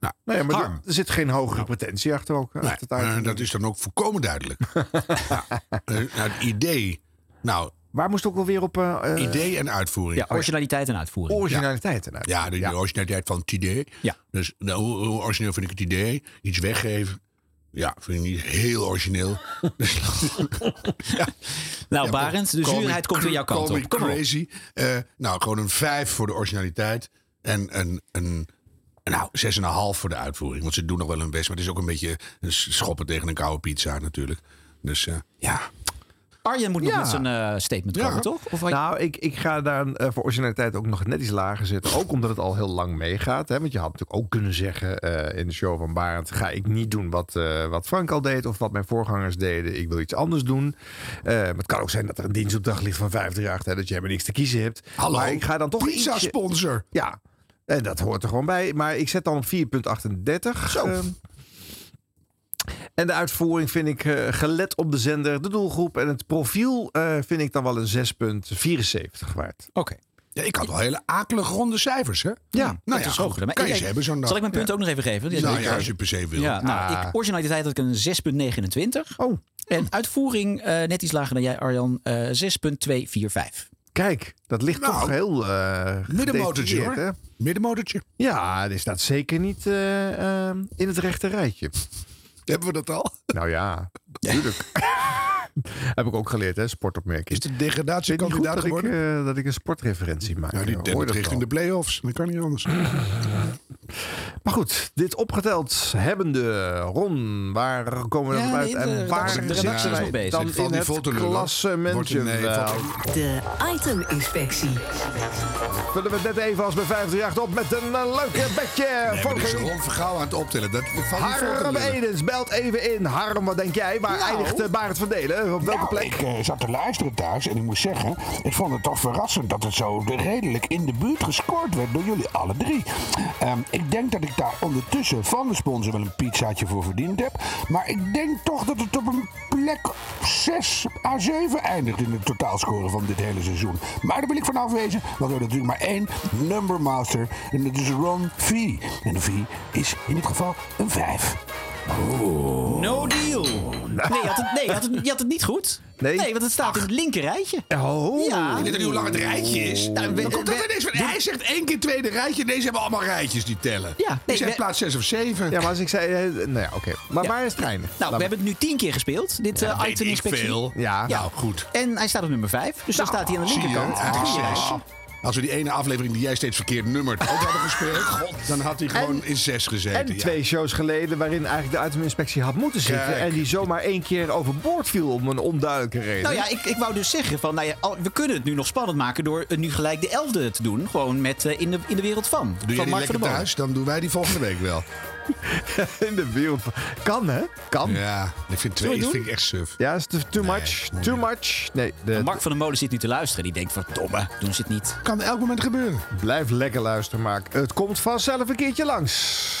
Nou, Nee, maar Harm. Nou. er- er zit geen hogere pretentie achter ook. eh, achter het Eh, item. dat is dan ook volkomen [laughs] duidelijk. ja. Eh, nou, het idee. Nou, Waar moest ook alweer op... eh, eh, idee en uitvoering. Ja, originaliteit en uitvoering. Originaliteit en uitvoering. Ja, de, de originaliteit van het idee. Ja. Dus nou, hoe, hoe origineel vind ik het idee? Iets weggeven. Ja, vind ik niet heel [laughs] origineel. Nou, Barend, de zuurheid komt weer jouw kant op. Kom op. crazy. Eh, nou, gewoon een 5 voor de originaliteit. En een, een, een nou, 6,5 voor de uitvoering. Want ze doen nog wel hun best. Maar het is ook een beetje een s- schoppen tegen een koude pizza natuurlijk. Dus eh, ja. Arjen moet nog Ja. met zijn eh, statement Ja. komen, toch? Of had- nou, ik, ik ga daar eh, voor originaliteit ook nog net iets lager zitten. Ook omdat het al heel lang meegaat. Hè? Want je had natuurlijk ook kunnen zeggen eh, in de show van Barend... ga ik niet doen wat, eh, wat Frank al deed of wat mijn voorgangers deden. Ik wil iets anders doen. Eh, maar het kan ook zijn dat er een dienstopdracht ligt van 538... Hè, dat je helemaal niks te kiezen hebt. Hallo, maar ik ga dan toch pizza ietsje- sponsor. Ja, en dat hoort er gewoon bij. Maar ik zet dan op 4,38. Zo. ehm. En de uitvoering vind ik, eh, gelet op de zender, de doelgroep en het profiel, eh, vind ik dan wel een 6,74 waard. Oké. Ja, ik had wel hele akelige ronde cijfers, hè? Ja, nou dat ja, is hoger. Maar kan je ik- ze hebben zo'n dag. Zal ik mijn punt Ja. ook nog even geven? Nou Ik- ja, als je per se wil. Ja, nou, Ah. ik, originaliteit had ik een 6,29. Oh. En uitvoering eh, net iets lager dan jij, Arjan. eh 6,245. Kijk, dat ligt Nou, toch heel eh middenmotortje, hoor. gedetailleerd, hè? Middenmotortje. Ja, die staat zeker niet eh, eh, in het rechte rijtje. Hebben we dat al? Nou ja, natuurlijk. Heb ik ook geleerd, hè, sportopmerking. Is de Ik weet degradatiekandidaat niet goed dat ik, geworden? eh, dat ik een sportreferentie maak. Nou, die Hoor dendert dat richting al. de play-offs. Dat kan niet anders. Maar goed, dit opgeteld hebbende Ron, waar komen we Ja, dan uit? nee, de en waar redactie- de zitten redactie is nog wij bezig. Dan Valt in die het vol te lullen? Wordt klassementje een nee, wel. valt- De iteminspectie. Vullen we het net even als bij 538 op met een eh, leuke bedje. Nee, maar dit is Ron Vergaal aan het optellen. Dat, dat valt niet vol te Harm lullen. Edens, belt even in. Harm, wat denk jij? Waar Nou. eindigt eh, Barend van Delen? Op welke plek? Ik eh, zat te luisteren thuis en ik moet zeggen, ik vond het toch verrassend dat het zo redelijk in de buurt gescoord werd door jullie alle drie. Ehm, ik denk dat ik daar ondertussen van de sponsor wel een pizzaatje voor verdiend heb. Maar ik denk toch dat het op een plek 6 à 7 eindigt in de totaalscore van dit hele seizoen. Maar daar wil ik van afwezen, want we hebben natuurlijk maar één number master. En dat is Ron V. En de V is in dit geval een 5. No deal. Nee, je had het, nee je, had het, je had het niet goed. Nee, want het staat in het linker rijtje. Oh. Ja. Ik weet niet hoe lang het rijtje is. Nou, we- Dan komt dat we- ineens van, dit- hij zegt één keer tweede rijtje. Deze hebben allemaal rijtjes die tellen. Ja, Die nee, zijn we- plaats 6 of 7. Ja, maar als ik zei... eh, nou ja, oké. Maar waar is het eindig? Nou, we hebben het nu tien keer gespeeld, dit Ja, eh, weet ik item-inspectie. veel. Ja. Nou, goed. En hij staat op nummer 5, dus dan Nou, staat hij aan de Zie je, linkerkant. het is Goeie zes. reis. Als we die ene aflevering die jij steeds verkeerd nummert ook hadden gespeeld, dan had hij gewoon in 6 gezeten. En ja. twee shows geleden waarin eigenlijk de iteminspectie had moeten zitten. Kijk. En die zomaar één keer overboord viel om een onduidelijke reden. Nou ja, ik, ik wou dus zeggen van, nou ja, al- we kunnen het nu nog spannend maken door het nu gelijk de elfde te doen. Gewoon met eh, in, de, in de wereld van. Doe jij van die Mark lekker van der Molen. thuis, dan doen wij die volgende week wel. [laughs] In de wereld van... Kan, hè? Kan. Ja, ik vind Zullen we twee doen? vind ik echt suf. Ja, is te- too much. Too much. Nee, de, Mark van der Molen zit nu te luisteren. Die denkt, verdomme, doen ze het niet. Kan elk moment gebeuren. blijf lekker luisteren, Mark. Het komt vanzelf een keertje langs.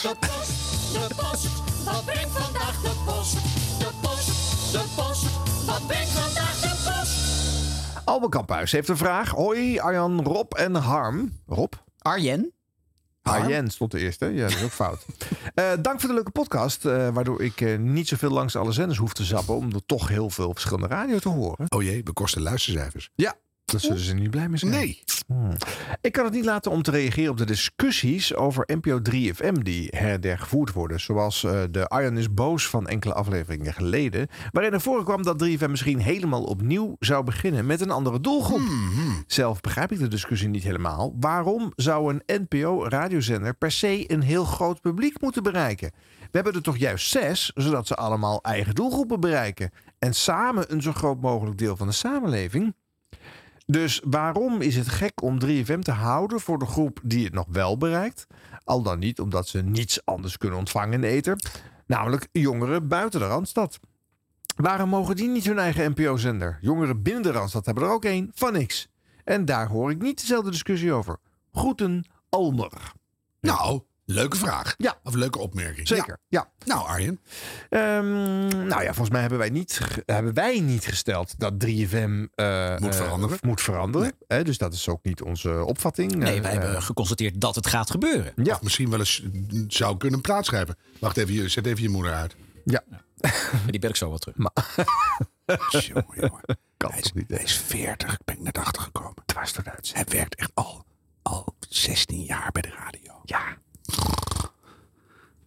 De post, wat brengt vandaag de post? De post, de post, wat brengt vandaag de post? Albert Kamphuis heeft een vraag. Hoi, Arjan, Rob en Harm. Rob? Arjen. Arjen stond de eerste. Ja, dat is ook fout. Eh, dank voor de leuke podcast, eh, waardoor ik eh, niet zoveel langs alle zenders hoef te zappen... om er toch heel veel verschillende radio te horen. Oh jee, we kosten luistercijfers. Ja, dat zullen ze niet blij mee zijn. Nee. Ik kan het niet laten om te reageren op de discussies over NPO 3FM die her en der gevoerd worden. Zoals eh, de Arjan is boos van enkele afleveringen geleden. Waarin er voorkwam dat 3FM misschien helemaal opnieuw zou beginnen met een andere doelgroep. Zelf begrijp ik de discussie niet helemaal. Waarom zou een NPO-radiozender per se een heel groot publiek moeten bereiken? We hebben er toch juist zes, zodat ze allemaal eigen doelgroepen bereiken. En samen een zo groot mogelijk deel van de samenleving. Dus waarom is het gek om 3FM te houden voor de groep die het nog wel bereikt? Al dan niet omdat ze niets anders kunnen ontvangen in de ether, namelijk jongeren buiten de Randstad. Waarom mogen die niet hun eigen NPO-zender? Jongeren binnen de Randstad hebben er ook één, van niks. En daar hoor ik niet dezelfde discussie over. Groeten, Almer. Nou, Leuke vraag. Ja. Of leuke opmerking. Zeker, ja. Nou, Arjen. nou ja, volgens mij hebben wij niet, ge- hebben wij niet gesteld dat 3FM eh, Moet eh, veranderen. moet veranderen. Hè, dus dat is ook niet onze opvatting. Nee, Eh, wij eh, hebben geconstateerd dat het gaat gebeuren. Ja. Of misschien wel eens mm, zou kunnen plaatsgrijpen. Wacht even, je- zet even je moeder uit. Ja. Die ben ik zo wel terug. [laughs] Jongen, [laughs] jongen. Hij is, hij is 40, ik ben ik net achtergekomen. Dwars eruit. Hij werkt echt al, al 16 jaar bij de radio. Ja.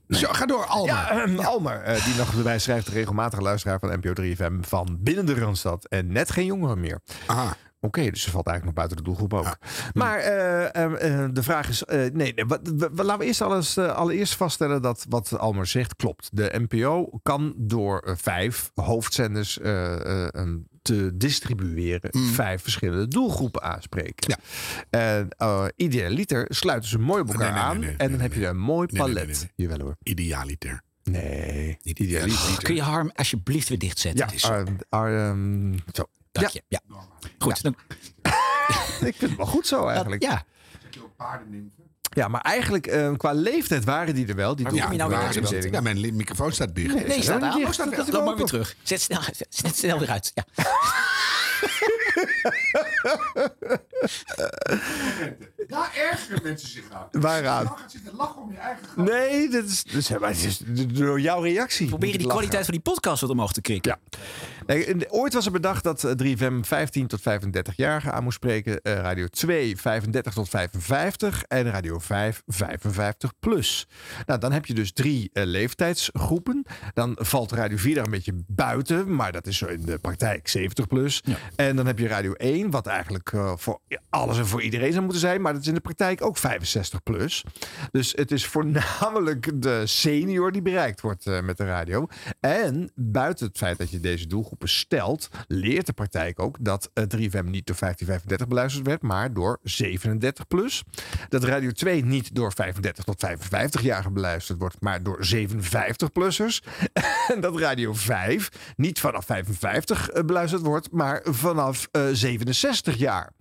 Zo, ga door, Alma. Ja, ehm, Almer, eh, die nog erbij schrijft, de regelmatige luisteraar van NPO 3FM van binnen de Randstad. En net geen jongeren meer. Aha. Oké, dus ze valt eigenlijk nog buiten de doelgroep ook. Maar eh, eh, eh, de vraag is, eh, nee, nee, wat- wat- wat- laten we eerst alles, eh, allereerst vaststellen dat wat Almer zegt klopt. De NPO kan door eh, vijf hoofdzenders eh, eh, een- te distribueren Mm. vijf verschillende doelgroepen aanspreken. En eh, idealiter sluiten ze mooi op elkaar aan en dan heb je een mooi palet. Jawel hoor. Idealiter. Nee, idealiter. Kun je Harm alsjeblieft weer dichtzetten? Ja, Het is- ar, ar- ehm, zo. Dank ja. je. Ja. Goed, dan- [laughs] Ik vind het wel goed zo eigenlijk. Ja. Ja, maar eigenlijk eh, qua leeftijd waren die er wel. Die Maar wie kom je nou weer doelgroepen. uit? Ja, mijn li- microfoon staat dicht. Nee, Nee, staat niet aan. dicht. Oh, staat Dat is aan. Loop maar open. weer terug. Zet snel, zet- zet snel weer uit. Ja. [laughs] Daar ergeren mensen zich aan. Waaraan? Dan gaat zitten lachen om je eigen [laughs] Nee, dat is, dus, maar het is door jouw reactie. Proberen die kwaliteit van die podcast wat omhoog te krikken. Ja. Nee, en Ooit was er bedacht dat eh, 3FM 15 tot 35-jarigen aan moest spreken. eh, Radio 2 35 tot 55 en Radio 5 55 plus. Nou, dan heb je dus drie eh, leeftijdsgroepen. Dan valt Radio 4 daar een beetje buiten, maar dat is zo in de praktijk 70 plus. En dan heb je Radio 1, wat eigenlijk eh, voor alles en voor iedereen zou moeten zijn, maar dat is in de praktijk ook 65 plus. Dus het is voornamelijk de senior die bereikt wordt eh, met de radio. En buiten het feit dat je deze doelgroepen stelt, leert de praktijk ook dat eh, 3FM niet door 1535 beluisterd werd, maar door 37 plus. Dat Radio 2 niet door 35 tot 55-jarigen beluisterd wordt, maar door 57-plussers. [laughs] en dat Radio 5 niet vanaf 55 eh, beluisterd wordt, maar vanaf eh, 67 jaar.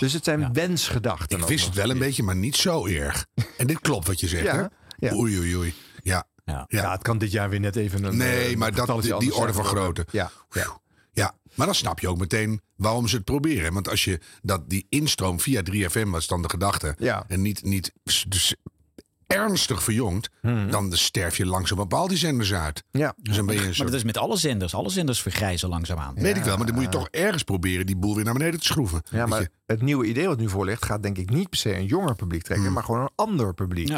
Dus het zijn wensgedachten. Ik wist het wel een beetje, maar niet zo erg. En dit klopt wat je zegt, Ja, hè? ja. Oei, oei, oei. Ja. Ja. het kan dit jaar weer net even een. Nee, eh, maar dat, getalletje die, die anders orde van zijn. grootte. Ja. Ja. ja, maar dan snap je ook meteen waarom ze het proberen. Want als je dat, die instroom via 3FM was dan de gedachte. En niet, niet s- dus ernstig verjongd. Hmm. Dan sterf je langzaam op al die zenders uit. [laughs] Ja. Dus dan ben je een Maar soort- dat is met alle zenders. Alle zenders vergrijzen langzaamaan. Weet ik wel, maar dan moet je toch ergens proberen die boel weer naar beneden te schroeven. Ja, maar het nieuwe idee wat nu voor ligt gaat denk ik niet per se een jonger publiek Mm. trekken, maar gewoon een ander publiek.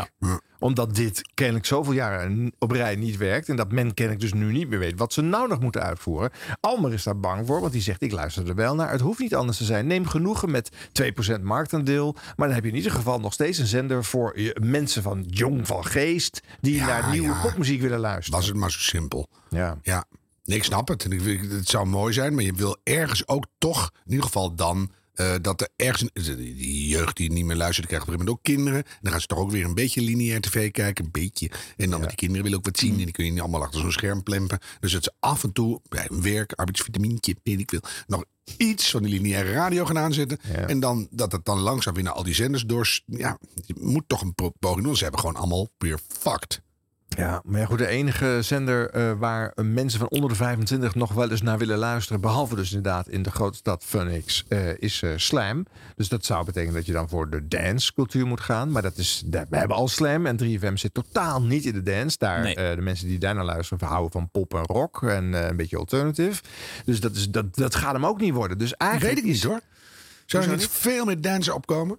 Omdat dit kennelijk zoveel jaren op rij niet werkt en dat men kennelijk dus nu niet meer weet wat ze nou nog moeten uitvoeren. Almer is daar bang voor, want die zegt ik luister er wel naar. Het hoeft niet anders te zijn. Neem genoegen met 2% marktaandeel, maar dan heb je in ieder geval nog steeds een zender voor je- mensen van jong van geest die naar nieuwe popmuziek willen luisteren. Was het maar zo simpel. Ja. ja. Nee, ik snap het. En ik vind- Het zou mooi zijn, maar je wil ergens ook toch, in ieder geval dan, eh, dat er ergens. Die jeugd die niet meer luistert, die krijgt op een gegeven moment ook kinderen. En dan gaan ze toch ook weer een beetje lineair tv kijken, een beetje. En dan met die kinderen willen ook wat zien. Mm. En die kun je niet allemaal achter zo'n scherm plempen. Dus dat ze af en toe bij hun werk, arbeidsvitamintje, weet ik veel, nog iets van die lineaire radio gaan aanzetten. En dan dat het dan langzaam weer naar al die zenders door. Ja, je moet toch een pro- poging doen. Ze hebben gewoon allemaal weer fucked. Ja, maar ja, goed, de enige zender eh, waar eh, mensen van onder de 25 nog wel eens naar willen luisteren, behalve dus inderdaad in de grote stad Phoenix, eh, is eh, Slam. Dus dat zou betekenen dat je dan voor de dancecultuur moet gaan. Maar dat is, daar- we hebben al Slam en 3FM zit totaal niet in de dance. Daar, eh, de mensen die daarna luisteren houden van pop en rock en eh, een beetje alternative. Dus dat, is, dat, dat gaat hem ook niet worden. Dus eigenlijk Weet ik niet hoor. Zou er Hoezo niet veel meer dansen opkomen?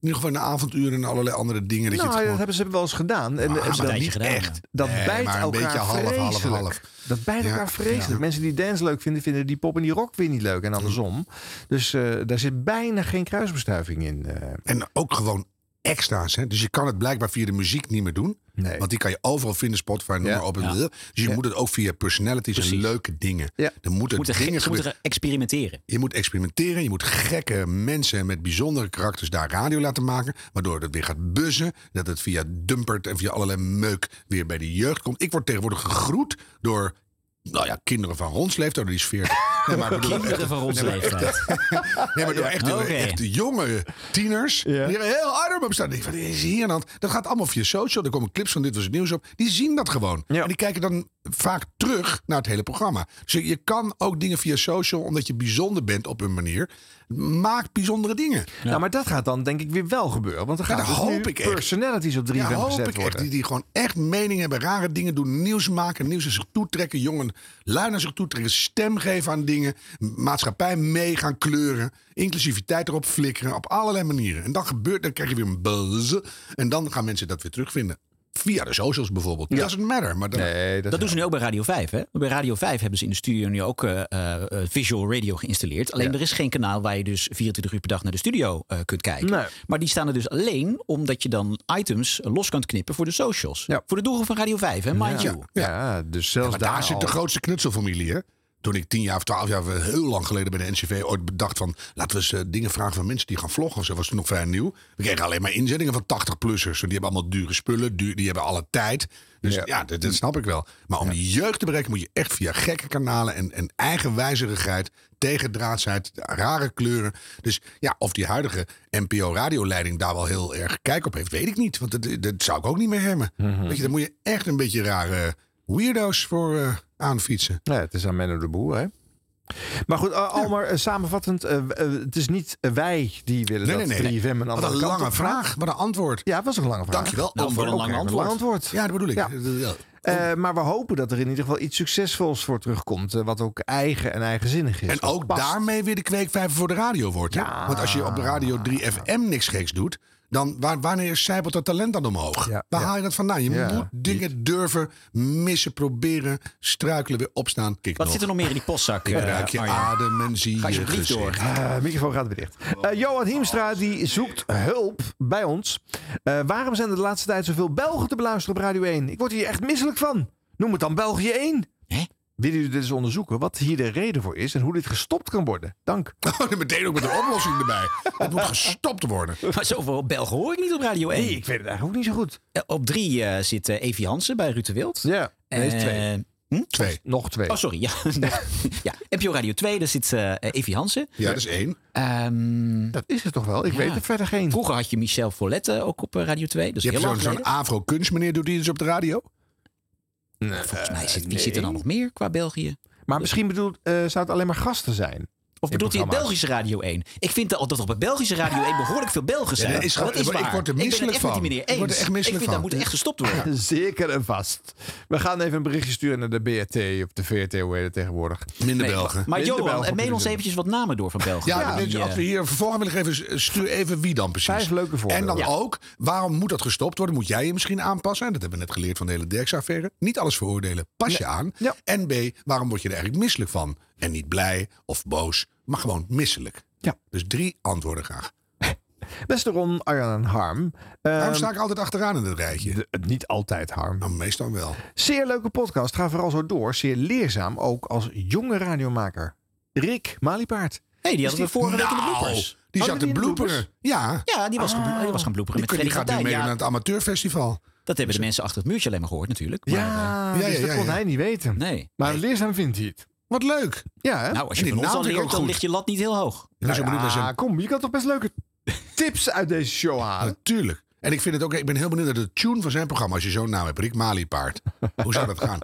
In ieder geval in de avonduren en allerlei andere dingen. Dat nou, je het gewoon... Ah, dat hebben ze wel eens gedaan. En, Maar eh, een dat tijdje niet gedaan, echt. ja. Dat Nee, bijt maar een elkaar beetje half, half, half. vreselijk. Dat bijt Ja, elkaar vreselijk. ja. Mensen die dance leuk vinden, vinden die pop en die rock weer niet leuk. En Mm. andersom. Dus eh, daar zit bijna geen kruisbestuiving in. eh. En ook gewoon extra's. Hè? Dus je kan het blijkbaar via de muziek niet meer doen. Want die kan je overal vinden, Spotify, noem maar op. en blub. Dus je moet het ook via personalities en leuke dingen. Er moeten Moeten ge- dingen ze moeten gebeuren. experimenteren. Je moet experimenteren. Je moet gekke mensen met bijzondere karakters daar radio laten maken. Waardoor het weer gaat buzzen. Dat het via dumpert en via allerlei meuk weer bij de jeugd komt. Ik word tegenwoordig gegroet door nou ja, kinderen van Rons leeftijd, die is 40. Nee, maar ik bedoel Kinderen van Rons nee, maar echt- [laughs] Nee, maar door echt, Oké. echt jonge tieners. Die er heel arm op staan. Ik denk, Wat is hier aan de hand? Dat gaat allemaal via social. Er komen clips van Dit Was Het Nieuws op. Die zien dat gewoon. En die kijken dan vaak terug naar het hele programma. Dus je, je kan ook dingen via social, omdat je bijzonder bent op een manier. Maak bijzondere dingen. Nou, maar dat gaat dan denk ik weer wel gebeuren. Want dan Ja, gaan dat dus hoop nu ik echt. personalities op 3 Ja, hoop gezet ik echt. worden. Die, die gewoon echt mening hebben, rare dingen doen, nieuws maken, nieuws naar zich toetrekken, jongen lui naar zich toetrekken, stem geven aan dingen, maatschappij mee gaan kleuren, inclusiviteit erop flikkeren, op allerlei manieren. En dan gebeurt, dan krijg je weer een buzz. En dan gaan mensen dat weer terugvinden. Via de socials bijvoorbeeld. Dat Doesn't matter. Maar dan, dat doen ze nu ook bij Radio 5. Hè? Bij Radio 5 hebben ze in de studio nu ook eh, eh, visual radio geïnstalleerd. Alleen er is geen kanaal waar je dus 24 uur per dag naar de studio eh, kunt kijken. Maar die staan er dus alleen omdat je dan items eh, los kunt knippen voor de socials. Voor de doelgroep van Radio 5, hè? mind ja. you. Ja. dus zelfs daar, daar zit al- de grootste knutselfamilie, hè? Toen ik tien jaar of twaalf jaar, eh, heel lang geleden bij de NCV ooit bedacht van... laten we eens eh, dingen vragen van mensen die gaan vloggen. Zo was toen nog vrij nieuw. We kregen alleen maar inzendingen van 80-plussers. want Die hebben allemaal dure spullen, duur, die hebben alle tijd. Dus ja, dat, dat snap ik wel. Maar om die jeugd te bereiken moet je echt via gekke kanalen... en, en eigen wijzerigheid, tegendraadsheid, rare kleuren. Dus ja, of die huidige NPO-radioleiding daar wel heel erg kijk op heeft... weet ik niet, want dat, dat zou ik ook niet meer hebben. Weet je, dan moet je echt een beetje rare weirdo's voor eh, aanfietsen. Ja, het is aan Menno de Boer, hè? Maar goed, eh, Almar, eh, samenvattend. eh, w- eh, het is niet eh, wij die willen Nee, dat nee, nee. 3FM een Wat andere een kant lange op vraag, wat een antwoord. Ja, het was ook een lange vraag. Dankjewel, Nou, voor voor een lange antwoord. Ja, dat bedoel ik. Eh, maar we hopen dat er in ieder geval iets succesvols voor terugkomt. eh, wat ook eigen en eigenzinnig is. En Dat ook past. daarmee weer de kweekvijver voor de radio wordt. hè? Want als je op Radio 3 FM niks geks doet, dan waar, wanneer zijpelt dat talent dan omhoog? waar haal je dat vandaan? Je Ja. moet dingen durven, missen, proberen, struikelen, weer opstaan. Kik Wat nog. zit er nog meer in die postzak? Ik eh, ruik je Arjen? adem en zie Ga je alsjeblieft door. gezicht. Eh, microfoon gaat weer dicht. Eh, Johan Hiemstra die zoekt hulp bij ons. Eh, waarom zijn er de laatste tijd zoveel Belgen te beluisteren op Radio 1? Ik word hier echt misselijk van. Noem het dan België 1. Willen jullie dit eens onderzoeken? Wat hier de reden voor is en hoe dit gestopt kan worden? Dank. Oh, dan meteen ook met een oplossing erbij. Het moet gestopt worden. [laughs] Maar zoveel Belgen hoor ik niet op Radio 1. ik weet het eigenlijk ook niet zo goed. Op drie eh, zit eh, Evie Hansen bij Ruud de Wild. Ja, nee, is Eh, twee. hm? Twee. Nog twee. Oh, [laughs] sorry. Ja, ja. NPO Radio 2, daar zit eh Evie Hansen. Ehm, Ja, dat is één. dat is het toch wel? Ik weet er verder geen. Vroeger had je Michel Follette ook op eh, Radio 2. Dus Je hebt heel lang zo'n zo'n geleden. afro-kunstmeneer, doet die eens op de radio? Volgens mij zit, wie zit er dan nog meer qua België? Maar misschien bedoelt, eh, zou het alleen maar gasten zijn. Of bedoelt hij Belgische Radio 1? Ik vind dat dat er op Belgische Radio 1 behoorlijk veel Belgen Ja, zijn. dat is dat gewoon- is ik waar. word er ben het misselijk echt van. met die meneer Ik word er eens. echt misselijk vind dat van. moet echt gestopt worden. Zeker en vast. We gaan even een berichtje sturen naar de BRT of de VRT, hoe heet het tegenwoordig. Minder Belgen. Maar Minder Johan, Belgen en meen op ons jullie eventjes wat namen door van België. Ja, Die, dus eh, als we hier vervolgen willen geven, stuur even wie dan precies. Vijf leuke voorbeelden. En dan Ja. ook, waarom moet dat gestopt worden? Moet jij je misschien aanpassen? En dat hebben we net geleerd van de hele Derks-affaire. Niet alles veroordelen, pas je aan. En B, waarom word je er eigenlijk misselijk van? En niet blij of boos, maar gewoon misselijk. Dus drie antwoorden graag. doen. Beste Ron, Arjan en Harm. Waarom Ehm, sta ik altijd achteraan in het rijtje? De- niet altijd harm. Nou, meestal wel. Zeer leuke podcast. Ga vooral zo door. Zeer leerzaam, ook als jonge radiomaker. Rick Maliepaard. hey, die hadden we vorige week in de Nou, bloopers. Die Oh, zat die te in de bloopers? Ah. bloeperen. Ja. Ja, die was, gaan blo- die was gaan bloeperen Die, met kun- die Freddy gaat nu Gardijn. mee Ja, naar het amateurfestival. Dat hebben de mensen achter het muurtje alleen maar gehoord natuurlijk. Maar, Dus- Ja, eh, dus dat kon hij niet weten. Nee. Maar leerzaam vindt hij het. Wat leuk. Ja, hè? Nou, als je En die van naam ons al vind ik leert, ook dan goed. ligt je lat niet heel hoog. Dus ik Nou bedoel, dat is [laughs] ja, een- kom, je kan toch best leuke [laughs] tips uit deze show halen. Natuurlijk. En ik vind het ook, ik ben heel benieuwd naar de tune van zijn programma. Als je zo'n naam hebt, Rick [laughs] Maliepaard. Hoe zou dat gaan?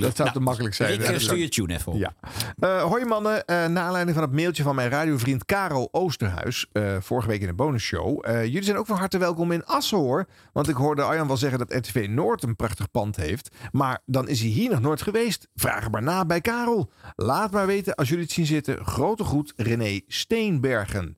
Dat zou te makkelijk zijn. Rick, hè? eh, stuur je tune even op. Ja. Eh, hoi mannen, Eh naar aanleiding van het mailtje van mijn radiovriend Karel Oosterhuis, eh, vorige week in de bonusshow. Eh, jullie zijn ook van harte welkom in Assen hoor, want ik hoorde Arjan wel zeggen dat RTV Noord een prachtig pand heeft. Maar dan is hij hier nog nooit geweest. Vraag er maar na bij Karel. Laat maar weten als jullie het zien zitten. Grote goed, René Steenbergen.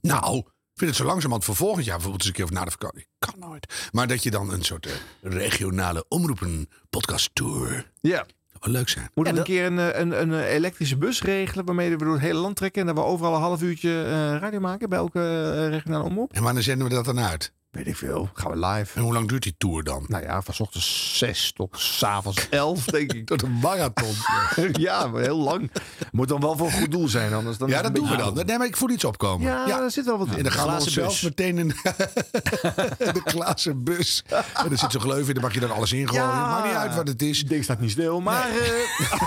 Nou, ik vind het zo langzamerhand voor volgend jaar bijvoorbeeld eens een keer of na de vakantie. Kan nooit. Maar dat je dan een soort eh, regionale omroepen podcast tour. Ja. Dat zou wel leuk zijn. Moeten we een keer een, eh, een, een, eh, elektrische bus regelen waarmee we door het hele land trekken en dat we overal een half uurtje eh, radio maken bij elke eh, regionale omroep? En wanneer zenden we dat dan uit? Weet ik veel. Gaan we live. En hoe lang duurt die tour dan? Nou ja, van 's ochtends 6 tot 's [laughs] avonds 11, denk ik. Tot een marathon. [laughs] ja, maar heel lang. Moet dan wel voor een goed doel zijn, anders dan. Ja, dat doen we dan. Nee, maar ik voel iets opkomen. Ja, daar zit wel wat in. En dan gaan we Glazen onszelf bus. meteen in [laughs] de glazen [laughs] bus. En er zit zo'n gleuf in, dan mag je dan alles ingooien. Ja. Maakt niet uit wat het is. Ding staat niet stil, maar... eh,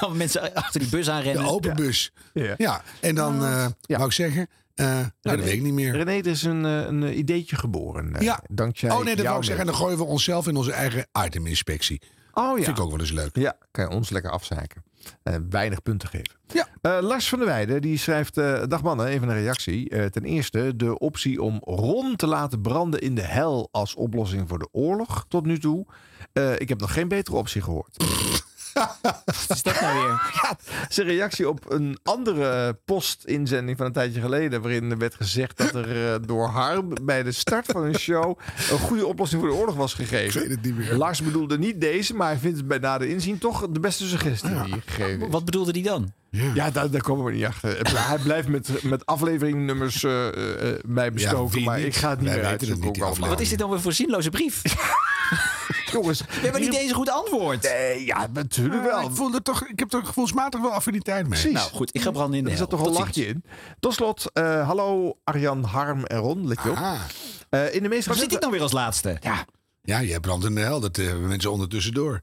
Nou, mensen achter die bus aanrennen. De open bus. Eh. Ja. Nou, Ja. En dan eh wou ik zeggen, eh dat weet ik niet meer. René, er is een, eh, een eh, ideetje geboren. Eh, Ja. Dankzij oh nee, dat wou jouw ik zeggen. En dan mail. gooien we onszelf in onze eigen iteminspectie. Oh ja. Vind ik ook wel eens leuk. Ja, kan je ons lekker afzaken. Eh, weinig punten geven. Ja. Eh, Lars van der Weijden die schrijft: eh Dag mannen, even een reactie. Eh, ten eerste de optie om Ron te laten branden in de hel als oplossing voor de oorlog tot nu toe. Eh, ik heb nog geen betere optie gehoord. Wat is dat nou weer? [laughs] Ja, zijn reactie op een andere postinzending van een tijdje geleden. Waarin er werd gezegd dat er eh, door Harm bij de start van een show. een goede oplossing voor de oorlog was gegeven. Ik weet het niet meer. Lars bedoelde niet deze, maar hij vindt het bij nader inzien toch de beste suggestie die gegeven is. Wat bedoelde die dan? Ja, daar, daar komen we niet achter. Het- Hij blijft met, met afleveringnummers eh, eh, eh, mij bestoken, wie maar niet? ik ga het niet Wij meer weten het uitzoeken. niet, die ook allemaal. Wat is dit dan weer voor zinloze brief? [laughs] Jongens, We hebben niet eens een goed antwoord. Nee, ja, natuurlijk wel. Ik, voel er toch, ik heb er gevoelsmatig wel affiniteit mee. Precies. Nou goed, ik ga branden in de Er hel. zat toch een Tot lachje ziens. in. Tot slot, eh, hallo Arjan, Harm en Ron. Let je op. Ah. Eh, in de meest Waar zit recente... ik dan weer als laatste? Ja, Ja, jij brandt in de hel. Dat hebben mensen ondertussen door.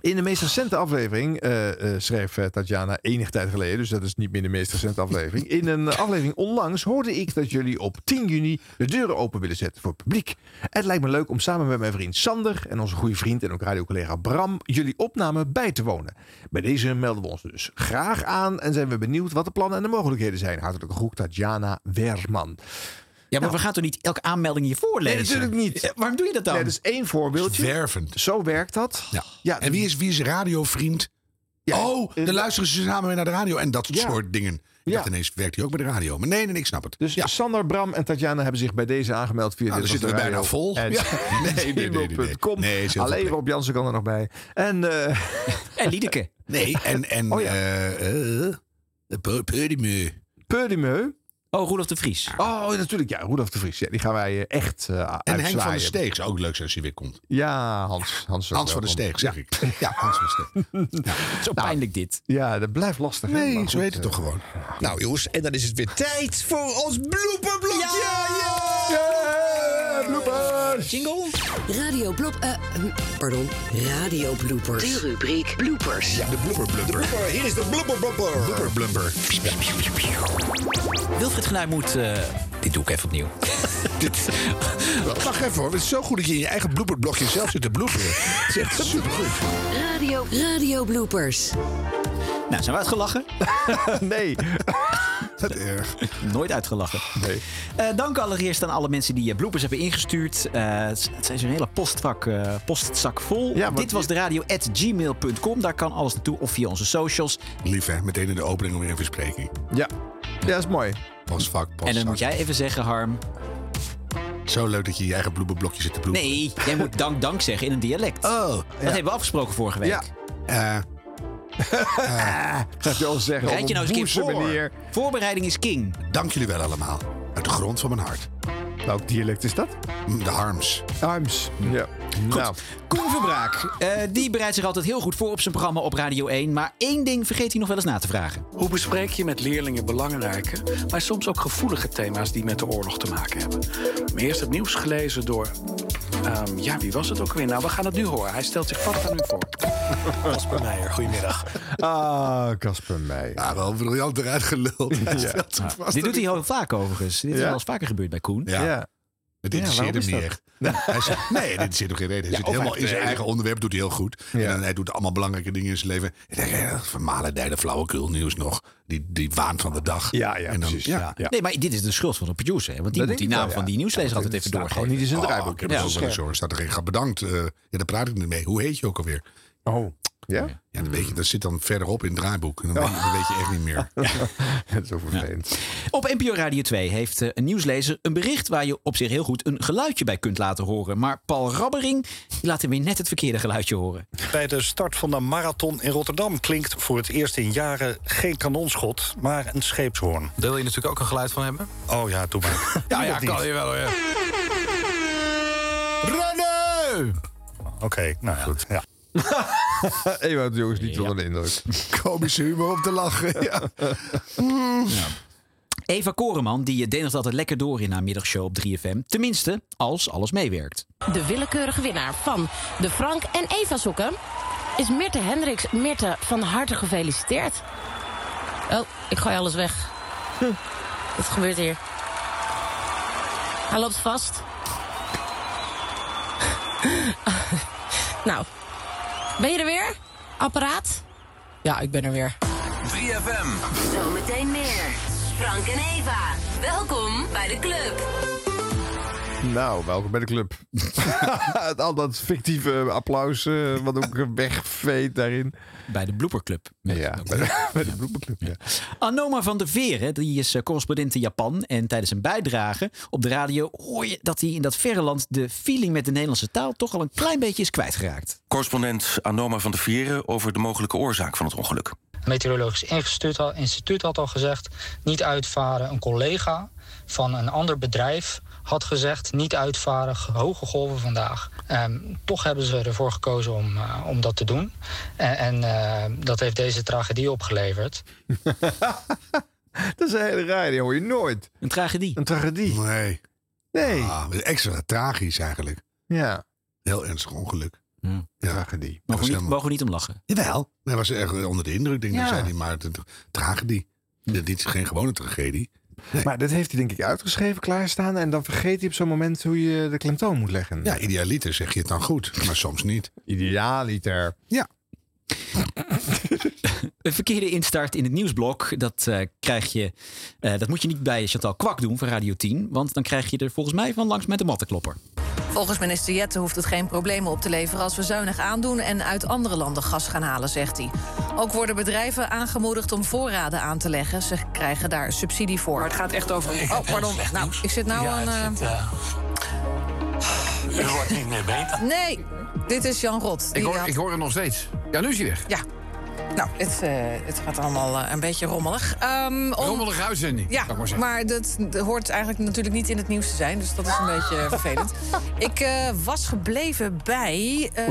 In de meest recente aflevering eh, eh, schreef eh, Tatjana enig tijd geleden, dus dat is niet meer de meest recente aflevering. In een eh, aflevering onlangs hoorde ik dat jullie op 10 juni de deuren open willen zetten voor het publiek. Het lijkt me leuk om samen met mijn vriend Sander en onze goede vriend en ook radiocollega Bram jullie opname bij te wonen. Bij deze melden we ons dus graag aan en zijn we benieuwd wat de plannen en de mogelijkheden zijn. Hartelijke groet Tatjana Werman. Nou. Ja, maar we gaan toch niet elke aanmelding hier voorlezen? Nee, natuurlijk niet. Eh, Waarom doe je dat dan? Nee, dus- dat is één voorbeeldje. Wervend. Zo werkt dat. Ja. Ja, Eh, En wie is, wie is radiovriend? oh, dan luisteren ze samen weer naar de radio en dat soort dingen. Ik dacht ineens, werkt hij ook bij de radio? Maar nee, nee, nee, ik snap het. Dus Sander, Bram en Tatjana hebben zich bij deze aangemeld via Nou, dit dan zitten was we de bijna radio. vol. En [laughs] Ja. Nee, nee, nee, nee, nee. NPO.com. Nee, is heel Alleen veel Rob Jansen kan er nog bij. En eh, [laughs] En Liedeke. Nee, en... en Oh ja. eh, eh, Pe- Peudimeu. Purdimeu. Oh, Roelof de Vries. Oh, natuurlijk. Ja, Rudolf de Vries. Ja, die gaan wij eh, echt eh En Henk van uitzwaaien. der Steeg zou ook leuk zijn als hij weer komt. Ja, Hans. Hans, ook Hans van der welkom. Nou, Steeg, zeg ik. Ja, Hans van der Steeg. [laughs] Zo pijnlijk dit. Ja, dat blijft lastig. hè? Maar Nee, zo goed, heet het eh, toch gewoon. Nou jongens, en dan is het weer tijd voor ons blooperblokje! eh, bloepers! Jingle? Radio blop... eh, hm, pardon, radio bloopers. De rubriek bloopers. Ja, de blubber blubber. Blooper, Hier is de blooper blooper. Blubber blubber. Wilfried Genuij moet... eh, dit doe ik even opnieuw. [laughs] Dit- Wacht even hoor, het is zo goed dat je in je eigen blooperblokje zelf zit te bloeperen. Het is echt supergoed. Radio, radio bloopers. Nou, zijn we uitgelachen? [laughs] [laughs] nee. Dat erg. Nooit uitgelachen. nee. Eh, dank allereerst aan alle mensen die eh, bloopers hebben ingestuurd. Eh, het, het is een hele postvak, eh, postzak vol. Ja, want- Dit was de radio at gmail.com. Daar kan alles naartoe of via onze socials. Lief hè, meteen in de opening weer een verspreking. Ja. ja, dat is mooi. Pas vak, pas en dan zak. moet jij even zeggen, Harm. Zo leuk dat je in je eigen blubberblokje zit te bloeperen. Nee, jij moet dank dank zeggen in een dialect. Oh. Dat hebben we afgesproken vorige week. Ja. Eh, [laughs] Gaat je al zeggen. Bereid je nou eens een keer op voor. een manier. Voorbereiding is king. dank jullie wel allemaal. Uit de grond van mijn hart. Mm, Welk dialect is dat? De harms. Arms. Ja. Nou, Koen Verbraak, eh, die bereidt zich altijd heel goed voor op zijn programma op Radio 1. Maar één ding vergeet hij nog wel eens na te vragen. Hoe bespreek je met leerlingen belangrijke, maar soms ook gevoelige thema's die met de oorlog te maken hebben? Maar eerst het nieuws gelezen door. ehm, ja, wie was het ook weer? Nou, we gaan het nu horen. Hij stelt zich vast aan u [laughs] voor. Casper Meijer, goedemiddag. ah, Casper Meijer. Ja, wel briljant eruit geluld. [laughs] Hij stelt zich vast. Dit doet hij heel vaak overigens. Dit is Ja? wel eens vaker gebeurd bij Koen. Ja. ja. Het interesseert waarom hem is niet echt. Hij zit, nee, dit zit nog geen reden. Hij zit of helemaal hij in zijn heeft- eigen onderwerp, doet hij heel goed. Ja. En dan, hij doet allemaal belangrijke dingen in zijn leven. Ik denk, ja, vermalendijde flauwekul nieuws nog. Die, die waan van de dag. Ja, ja, en dan, precies. Ja. Ja. Nee, maar dit is de schuld van de producer. hè? Want die Dat moet die denk ik naam wel, van ja. die nieuwslezer altijd even staat gewoon doorgeven. niet eens in het Oh, draaiboek. ik heb Ja, er ook wel eens hoor. Staat er geen grap, bedankt. eh, ja, daar praat ik niet mee. Hoe heet je ook alweer? Oh, ja? Ja, dat, weet je, dat zit dan verderop in het draaiboek. En dan, weet, je, dan weet je echt niet [laughs] meer. Dat is ook vervelend. Op NPO Radio 2 heeft eh, een nieuwslezer een bericht waar je op zich heel goed een geluidje bij kunt laten horen. Maar Paul Rabbering die laat hem weer net het verkeerde geluidje horen. Bij de start van de marathon in Rotterdam klinkt voor het eerst in jaren geen kanonschot, maar een scheepshoorn. Daar wil je natuurlijk ook een geluid van hebben. Oh ja, doe maar. Ja, ja, kan je wel. Ja. Rennen! Oké, nou ja. Goed. ja. [laughs] Ewout jongens niet onder de [laughs] indruk. Komische humor om te lachen. Ja. Eva Koreman die deed nog altijd lekker door in haar middagshow op 3FM. Tenminste, als alles meewerkt. De willekeurige winnaar van de Frank en Eva sokken is Mirte Hendricks. Mirte, van harte gefeliciteerd. Oh, ik gooi alles weg. Hm, wat gebeurt hier? Hij loopt vast. [laughs] nou, ben je er weer? Apparaat? Ja, ik ben er weer. 3FM. Zometeen meer. Frank en Eva, welkom bij de club. Nou, welkom bij de [laughs] club. Het Al dat fictieve applaus eh, wat ook wegveet daarin. Bij de blooperclub. Ja, bij de, [laughs] bij de blooperclub. Ja. Anoma van der Veer, hè, die is eh, correspondent in Japan. En tijdens een bijdrage op de radio hoor je dat hij in dat verre land de feeling met de Nederlandse taal toch al een klein beetje is kwijtgeraakt. Correspondent Anoma van der Vieren over de mogelijke oorzaak van het ongeluk. Meteorologisch instituut had, instituut had al gezegd: niet uitvaren. Een collega van een ander bedrijf had gezegd: niet uitvaren, g- hoge golven vandaag. Ehm, toch hebben ze ervoor gekozen om, eh, om dat te doen. En, en eh, dat heeft deze tragedie opgeleverd. Dat is een hele raar, die hoor je [laughs] nooit. Een tragedie. Een tragedie. Nee. Ah, Nee. extra tragisch eigenlijk. Ja. Heel ernstig ongeluk. Ja. Tragedie. Mogen we, niet, mogen we niet om lachen? Jawel. Hij was echt onder de indruk, denk ik. Ja. zei hij, maar het- het- tragedie. Hm. Dit is geen gewone tragedie. Maar dit heeft hij denk ik uitgeschreven, klaarstaan. En dan vergeet hij op zo'n moment hoe je de klemtoon moet [laughs] leggen. Ja, idealiter zeg je het dan goed, maar soms niet. Idealiter. Ja. Een verkeerde instart in het nieuwsblok, dat eh, krijg je. eh, dat moet je niet bij Chantal Kwak doen van Radio 10. Want dan krijg je er volgens mij van langs met de mattenklopper. Volgens minister Jette hoeft het geen problemen op te leveren als we zuinig aandoen en uit andere landen gas gaan halen, zegt hij. Ook worden bedrijven aangemoedigd om voorraden aan te leggen. Ze krijgen daar subsidie voor. Maar het gaat echt over. Oh, pardon. Nou, ik zit nou aan. eh, Het wordt niet meer beter. Nee, dit is Jan Rot. Ik hoor- ik hoor hem nog steeds. Ja, nu is hij weg. Ja. Nou, het, eh, het gaat allemaal eh, een beetje rommelig. Ehm om- Rommelige uitzending, Ja, zou ik maar maar, zeggen. dat, dat hoort eigenlijk natuurlijk niet in het nieuws te zijn. Dus dat is een beetje [laughs] eh, vervelend. Ik eh, was gebleven bij... eh,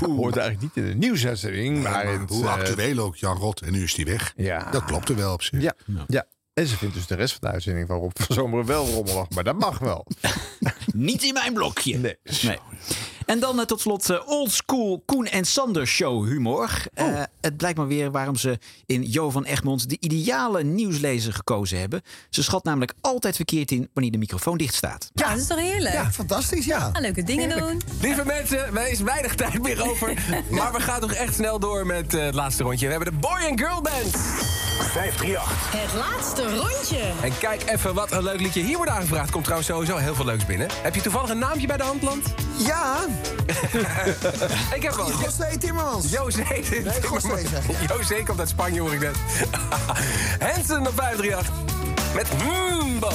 Hoort eigenlijk niet in de nieuwsuitzending. Maar het, Hoe eh, actueel ook, Jan Rot. En nu is hij weg. Ja. Dat klopte wel op zich. Ja. ja. En ze vindt dus de rest van de uitzending van Rob van Zomeren wel rommelig. Maar dat mag wel. Niet in mijn blokje. Nee. En dan eh, tot slot eh, old school Koen en Sander show humor. Eh, het blijkt maar weer waarom ze in Jo van Egmond de ideale nieuwslezer gekozen hebben. Ze schat namelijk altijd verkeerd in wanneer de microfoon dicht staat. Ja, dat is toch heerlijk? Ja, fantastisch, ja. Ah, leuke dingen doen. Lieve mensen, er is weinig tijd meer over. Maar we gaan toch echt snel door met eh, het laatste rondje. We hebben de Boy and Girl Band. 538. Het laatste rondje. En kijk even wat een leuk liedje hier wordt aangevraagd. Komt trouwens sowieso heel veel leuks binnen. Heb je toevallig een naamje bij de hand, [laughs] Land? Ja. ik heb wel. José Timmermans. José Timmermans. José zeg José komt uit Spanje, hoor ik net. [laughs] Hansen op 538. Met hmm, Mbo.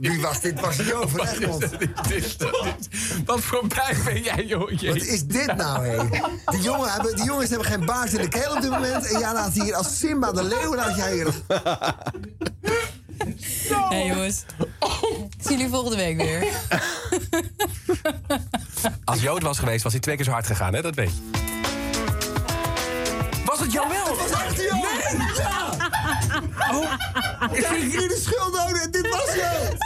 Wie was dit? Was die over Egmond? Wat voor buik ben jij, jongetje? Wat is dit nou, hé? Die, jongen hebben, die jongens hebben geen baard in de keel op dit moment. En jij laat hier als Simba de leeuw laat jij hier... Hey jongens. Oh. Zien jullie volgende week weer. Als Jood was geweest, was hij twee keer zo hard gegaan, hè? Dat weet je. Was het jou wel? Oh, was echt jou! Nee! Ja! Ik krijg jullie de schuld aan. Dit was jou! [laughs]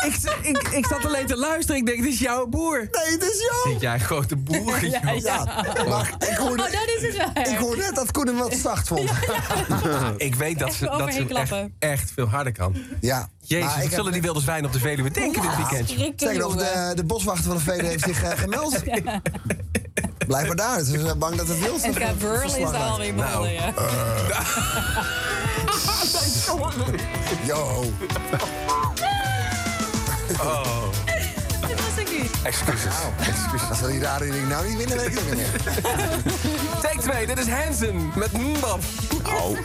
Ik, ik, ik zat alleen te luisteren. Ik denk, dit is jouw [laughs] boer. Nee, het is jou! Zit jij een grote [laughs] boer? joh? Maar ik hoorde, Ik hoor net dat Koen hem wat zacht vond. [laughs] Ik weet dat ze, Even dat ze overheen echt, klappen. echt veel harder kan. Ja. Jezus, Maar ik wat heb- zullen die wilde zwijnen op de Veluwe denken dit weekend? Zeg nog, de, de boswachter van de VD heeft zich eh, gemeld. Blijf maar daar, ze zijn bang dat het wild Nou, En Gabriel is daar alweer begonnen, ja. eh. [laughs] Yo. [laughs] Oh. eh, Dat was ik niet. [laughs] Excuses. Als we die rare ding nou niet winnen, weet ik het niet meer. Take 2, dit is Hansen met Mbap. Nou,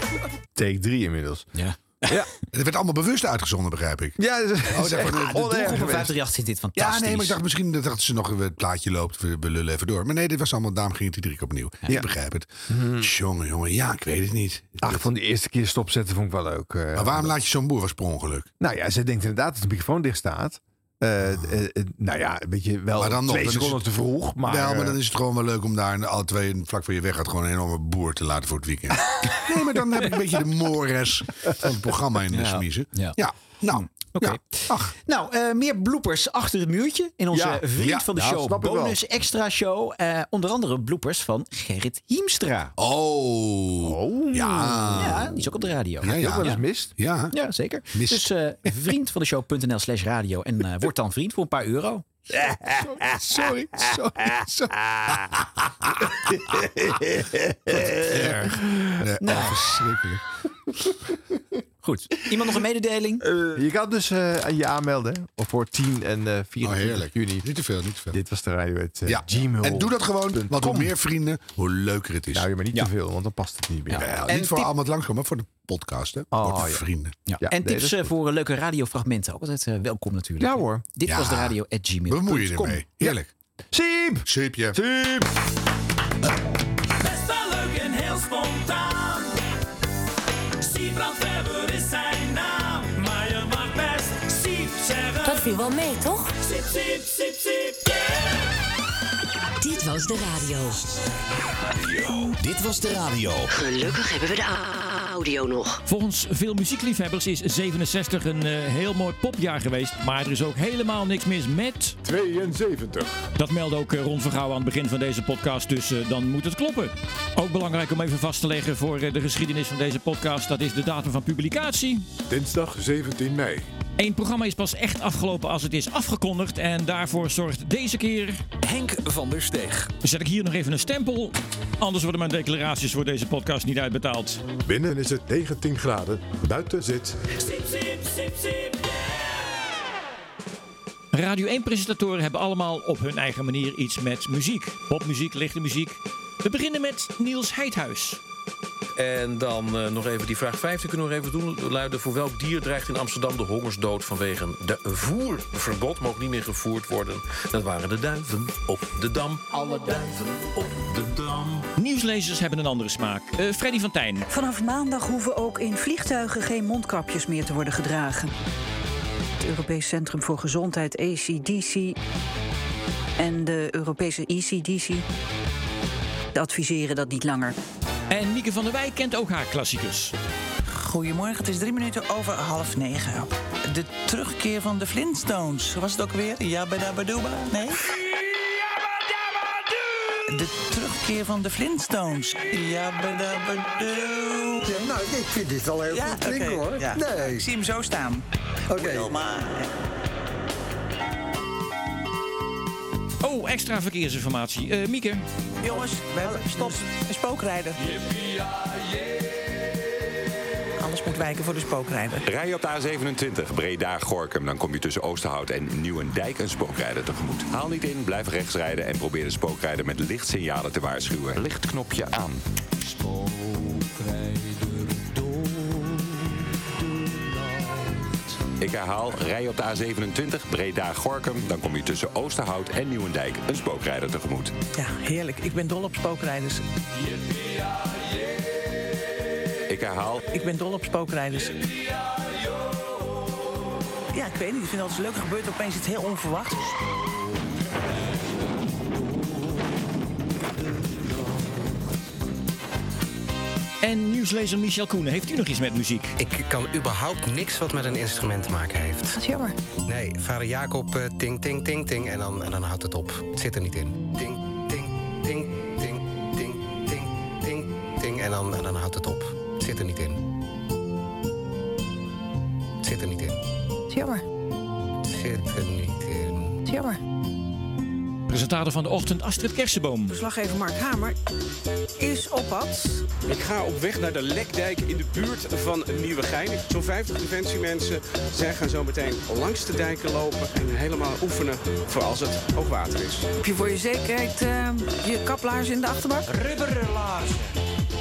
Take 3 inmiddels. Ja. Ja. Het werd allemaal bewust uitgezonden, begrijp ik. Ja, dat [laughs] oh, dat wordt- de doelgroep van 50 538 zit dit Ja, fantastisch. nee, maar ik dacht misschien dat dat ze nog eh, het plaatje loopt. We, we lullen even door. Maar nee, dit was allemaal, daarom ging het iedere keer opnieuw. Ik begrijp het. Jongen, jongen, ja, ik weet het niet. Mhm. Ach, van de eerste keer stopzetten vond ik wel leuk. eh. maar waarom laat je zo'n boer was per ongeluk? Nou ja, ze denkt inderdaad dat de microfoon dicht staat. Eh, eh, eh, nou ja, weet je, wel Maar dan nog, twee dan is seconden het- te vroeg. Maar, Wel, maar eh, dan is het gewoon wel leuk om daar een- al twee vlak voor je weg gaat gewoon een enorme boer te laten voor het weekend. [laughs] nee, maar dan heb ik een beetje de mores van het programma in de Ja. smiezen. Ja. nou. Hmm, Oké. Nou, eh, meer bloopers achter het muurtje in onze Ja. vriend Ja, van de nou, show. snap ik wel. Bonus extra show. Eh, onder andere bloopers van Gerrit Hiemstra. Oh. Ja. Ja, die is ook op de radio. Ja, ja. mist. Ja. Ja, zeker. Dus eh vriend van de show.nl slash radio. En eh, word dan vriend voor een paar euro. Sorry, sorry, Eh, Erg. Nee, Nou. oh, verschrikkelijk. Goed. Iemand nog een mededeling? je kan dus eh, aan je aanmelden hè, of voor 10 en eh 24 juni. Oh, Niet te veel, niet te veel. Dit was de radio uit eh, Ja. Gmail. En doe dat gewoon, want hoe Com. meer vrienden, hoe leuker het is. Nou, ja, maar niet te veel, want dan past het niet meer. Wel, En niet voor typ- allemaal het langskomen, maar voor de podcast. Hè. Oh, Wordt ja. vrienden. Ja. Ja, en nee, tips dat is eh, voor eh, leuke radiofragmenten. Ook altijd eh, welkom natuurlijk. Ja hoor. Dit Ja. was de radio at gmail.com. Bemoei je ermee. Heerlijk. Siep! Siepje. Siep! Best wel leuk en heel spontaan. Siebrand Weber is zijn naam. Maar je mag best Siep zeggen. Dat viel wel mee, toch? Siep, siep, siep, siep, yeah. Dit was de radio. Dit was de radio. Gelukkig hebben we de a- audio nog. Volgens veel muziekliefhebbers is 67 een eh, heel mooi popjaar geweest. Maar er is ook helemaal niks mis met... 72. Dat meldde ook eh, Ron Vergouw aan het begin van deze podcast. Dus eh, dan moet het kloppen. Ook belangrijk om even vast te leggen voor eh, de geschiedenis van deze podcast. Dat is de datum van publicatie. Dinsdag 17 mei. Eén programma is pas echt afgelopen als het is afgekondigd. En daarvoor zorgt deze keer... Henk van der Steeg. Zet ik hier nog even een stempel. Anders worden mijn declaraties voor deze podcast niet uitbetaald. Binnen is het 19 graden, buiten zit Siep, siep, siep, siep, Radio 1-presentatoren hebben allemaal op hun eigen manier iets met muziek. Popmuziek, lichte muziek. We beginnen met Niels Heidhuis. En dan eh, nog even die vraag 15 kunnen we nog even doen. Luiden, voor welk dier dreigt in Amsterdam de hongersdood vanwege de voerverbod? Mogen niet meer gevoerd worden. Dat waren de duiven op de dam. Alle duiven op de dam. Nieuwslezers hebben een andere smaak. Eh, Freddy van Tijn. Vanaf maandag hoeven ook in vliegtuigen geen mondkapjes meer te worden gedragen. Het Europees Centrum voor Gezondheid, ECDC, en de Europese E ECDC adviseren dat niet langer. En Mieke van der Wij kent ook haar klassiekers. Goedemorgen, het is drie minuten over half negen. De terugkeer van de Flintstones. Was het ook weer? Jabba-dabba-dooba? Nee? De terugkeer van de Flintstones. Jabba-dabba-doo. Ja, nou, ik vind dit al heel Ja, goed klinken oké, hoor. ja. Nee. Ik zie hem zo staan. Oké. Oh, extra verkeersinformatie. Eh, Mieke. Jongens, we hebben- stop. Een spookrijder. Alles moet wijken voor de spookrijder. eh, Rij je op de A27 Breda-Gorkum, dan kom je tussen Oosterhout en Nieuwendijk een spookrijder tegemoet. Haal niet in, blijf rechts rijden en probeer de spookrijder met lichtsignalen te waarschuwen. Lichtknopje aan. Ik herhaal, rij op de A27 Breda-Gorkum, dan kom je tussen Oosterhout en Nieuwendijk een spookrijder tegemoet. Ja, heerlijk. Ik ben dol op spookrijders. Ik herhaal, Ik ben dol op spookrijders. Ja, ik weet niet. Ik vind het altijd leuk. Er gebeurt opeens iets heel onverwachts. En nieuwslezer Michel Koenen. Heeft u nog iets met muziek? Ik kan überhaupt niks wat met een instrument te maken heeft. Dat is jammer. Nee, vader Jacob, eh, ting, ting, ting, ting. En dan, en dan houdt het op. Het zit er niet in. Ting, ting, ting, ting, ting, ting, ting, ting. En dan, en dan houdt het op. Het zit er niet in. Het zit er niet in. Dat is jammer. Het zit er niet in. Dat is jammer. Presentator van de ochtend Astrid Kersenboom. Verslaggever Mark Hamer is op pad. Ik ga op weg naar de Lekdijk in de buurt van Nieuwegein. Zo'n 50 defensiemensen. Zij gaan zo meteen langs de dijken lopen en helemaal oefenen voor als het ook water is. eh, Heb je voor je zekerheid je kaplaars in de achterbak? Rubberen laarzen.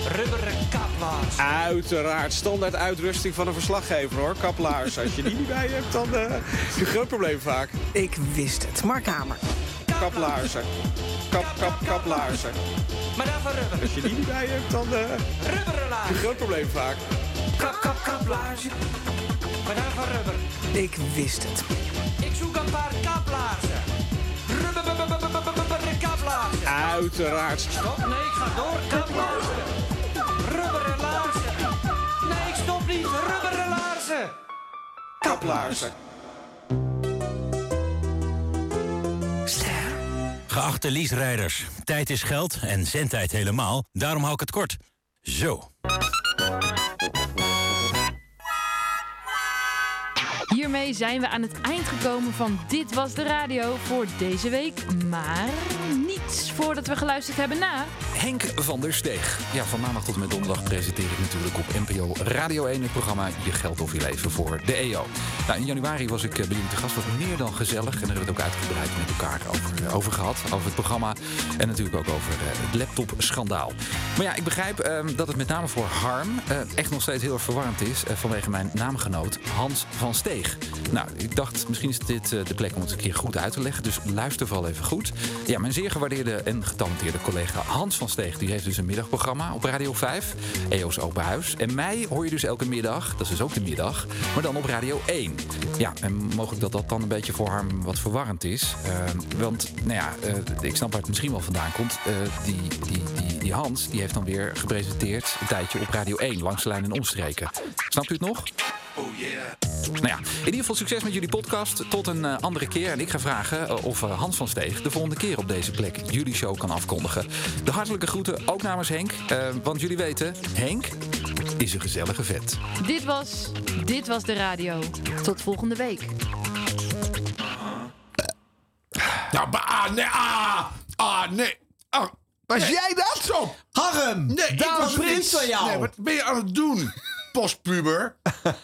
rubberen kaplaars. Uiteraard, standaard uitrusting van een verslaggever hoor. Kaplaars, als je die niet bij hebt, dan eh, heb je een groot probleem vaak. Ik wist het. Mark Hamer. Kaplaarzen. Kap, kap, kaplaarzen. Maar daarvoor rubber. Als je die niet bij hebt, dan eh, heb je een groot probleem vaak. Kap, kap, kaplaarzen. Maar daarvoor rubber. Ik wist het. Ik zoek een paar kaplaarzen. Rubber, rubber, rubber, rubber, rubber, kaplaarzen. Nou, Uiteraard. Stop, nee, ik ga door. Kaplaarzen. Rubberen laarzen. Nee, ik stop niet. Rubberen laarzen. Kaplaarzen. Geachte lease-rijders, tijd is geld en zendtijd helemaal. Daarom hou ik het kort. Zo. Hiermee zijn we aan het eind gekomen van Dit Was De Radio voor deze week. Maar niets voordat we geluisterd hebben na. Henk van der Steeg. Ja, van maandag tot en met donderdag presenteer ik natuurlijk op NPO Radio 1 het programma Je Geld of Je Leven voor de EO. Nou, in januari was ik eh, bij jullie te gast, was meer dan gezellig. En daar hebben we het ook uitgebreid met elkaar over, over gehad, over het programma. En natuurlijk ook over eh, het laptopschandaal. Maar ja, ik begrijp eh, dat het met name voor Harm eh, echt nog steeds heel erg verwarrend is eh, vanwege mijn naamgenoot Hans van Steeg. Nou, ik dacht misschien is dit eh, de plek om het een keer goed uit te leggen, dus luister vooral even goed. Ja, mijn zeer gewaardeerde en getalenteerde collega Hans van Steeg, die heeft dus een middagprogramma op Radio 5, EO's Open Huis. En mij hoor je dus elke middag, dat is dus ook de middag, maar dan op Radio 1. Ja, en mogelijk dat dat dan een beetje voor Harm wat verwarrend is. Eh, want, nou ja, eh, ik snap waar het misschien wel vandaan komt. Eh, die, die, die, die Hans, die heeft dan weer gepresenteerd een tijdje op Radio 1, langs de lijn en omstreken. Snapt u het nog? Oh yeah. Nou ja, in ieder geval succes met jullie podcast. Tot een eh, andere keer. En ik ga vragen eh, of eh, Hans van Steeg de volgende keer op deze plek jullie show kan afkondigen. De hartelijke groeten ook namens Henk. eh, want jullie weten, Henk is een gezellige vet. Dit was Dit Was De Radio. Tot volgende week. Nou, ba- ah, nee, ah, ah, nee. Ah, was jij dat? Zo. Harm, nee, ik daarom was het prins niet. van jou. Nee, wat ben je aan het doen, postpuber?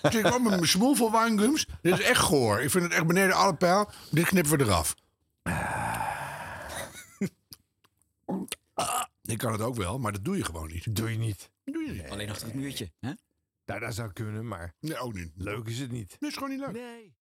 Dus ik kwam met mijn smoel vol wijngums. Dit is echt goor. Ik vind het echt beneden alle pijl. Dit knippen we eraf. Ah, Ik kan het ook wel, maar dat doe je gewoon niet. Doe je niet. Doe je niet. Alleen achter het muurtje. Nou, dat zou kunnen, maar... Nee, ook niet. Leuk is het niet. Dit is gewoon niet leuk. Nee.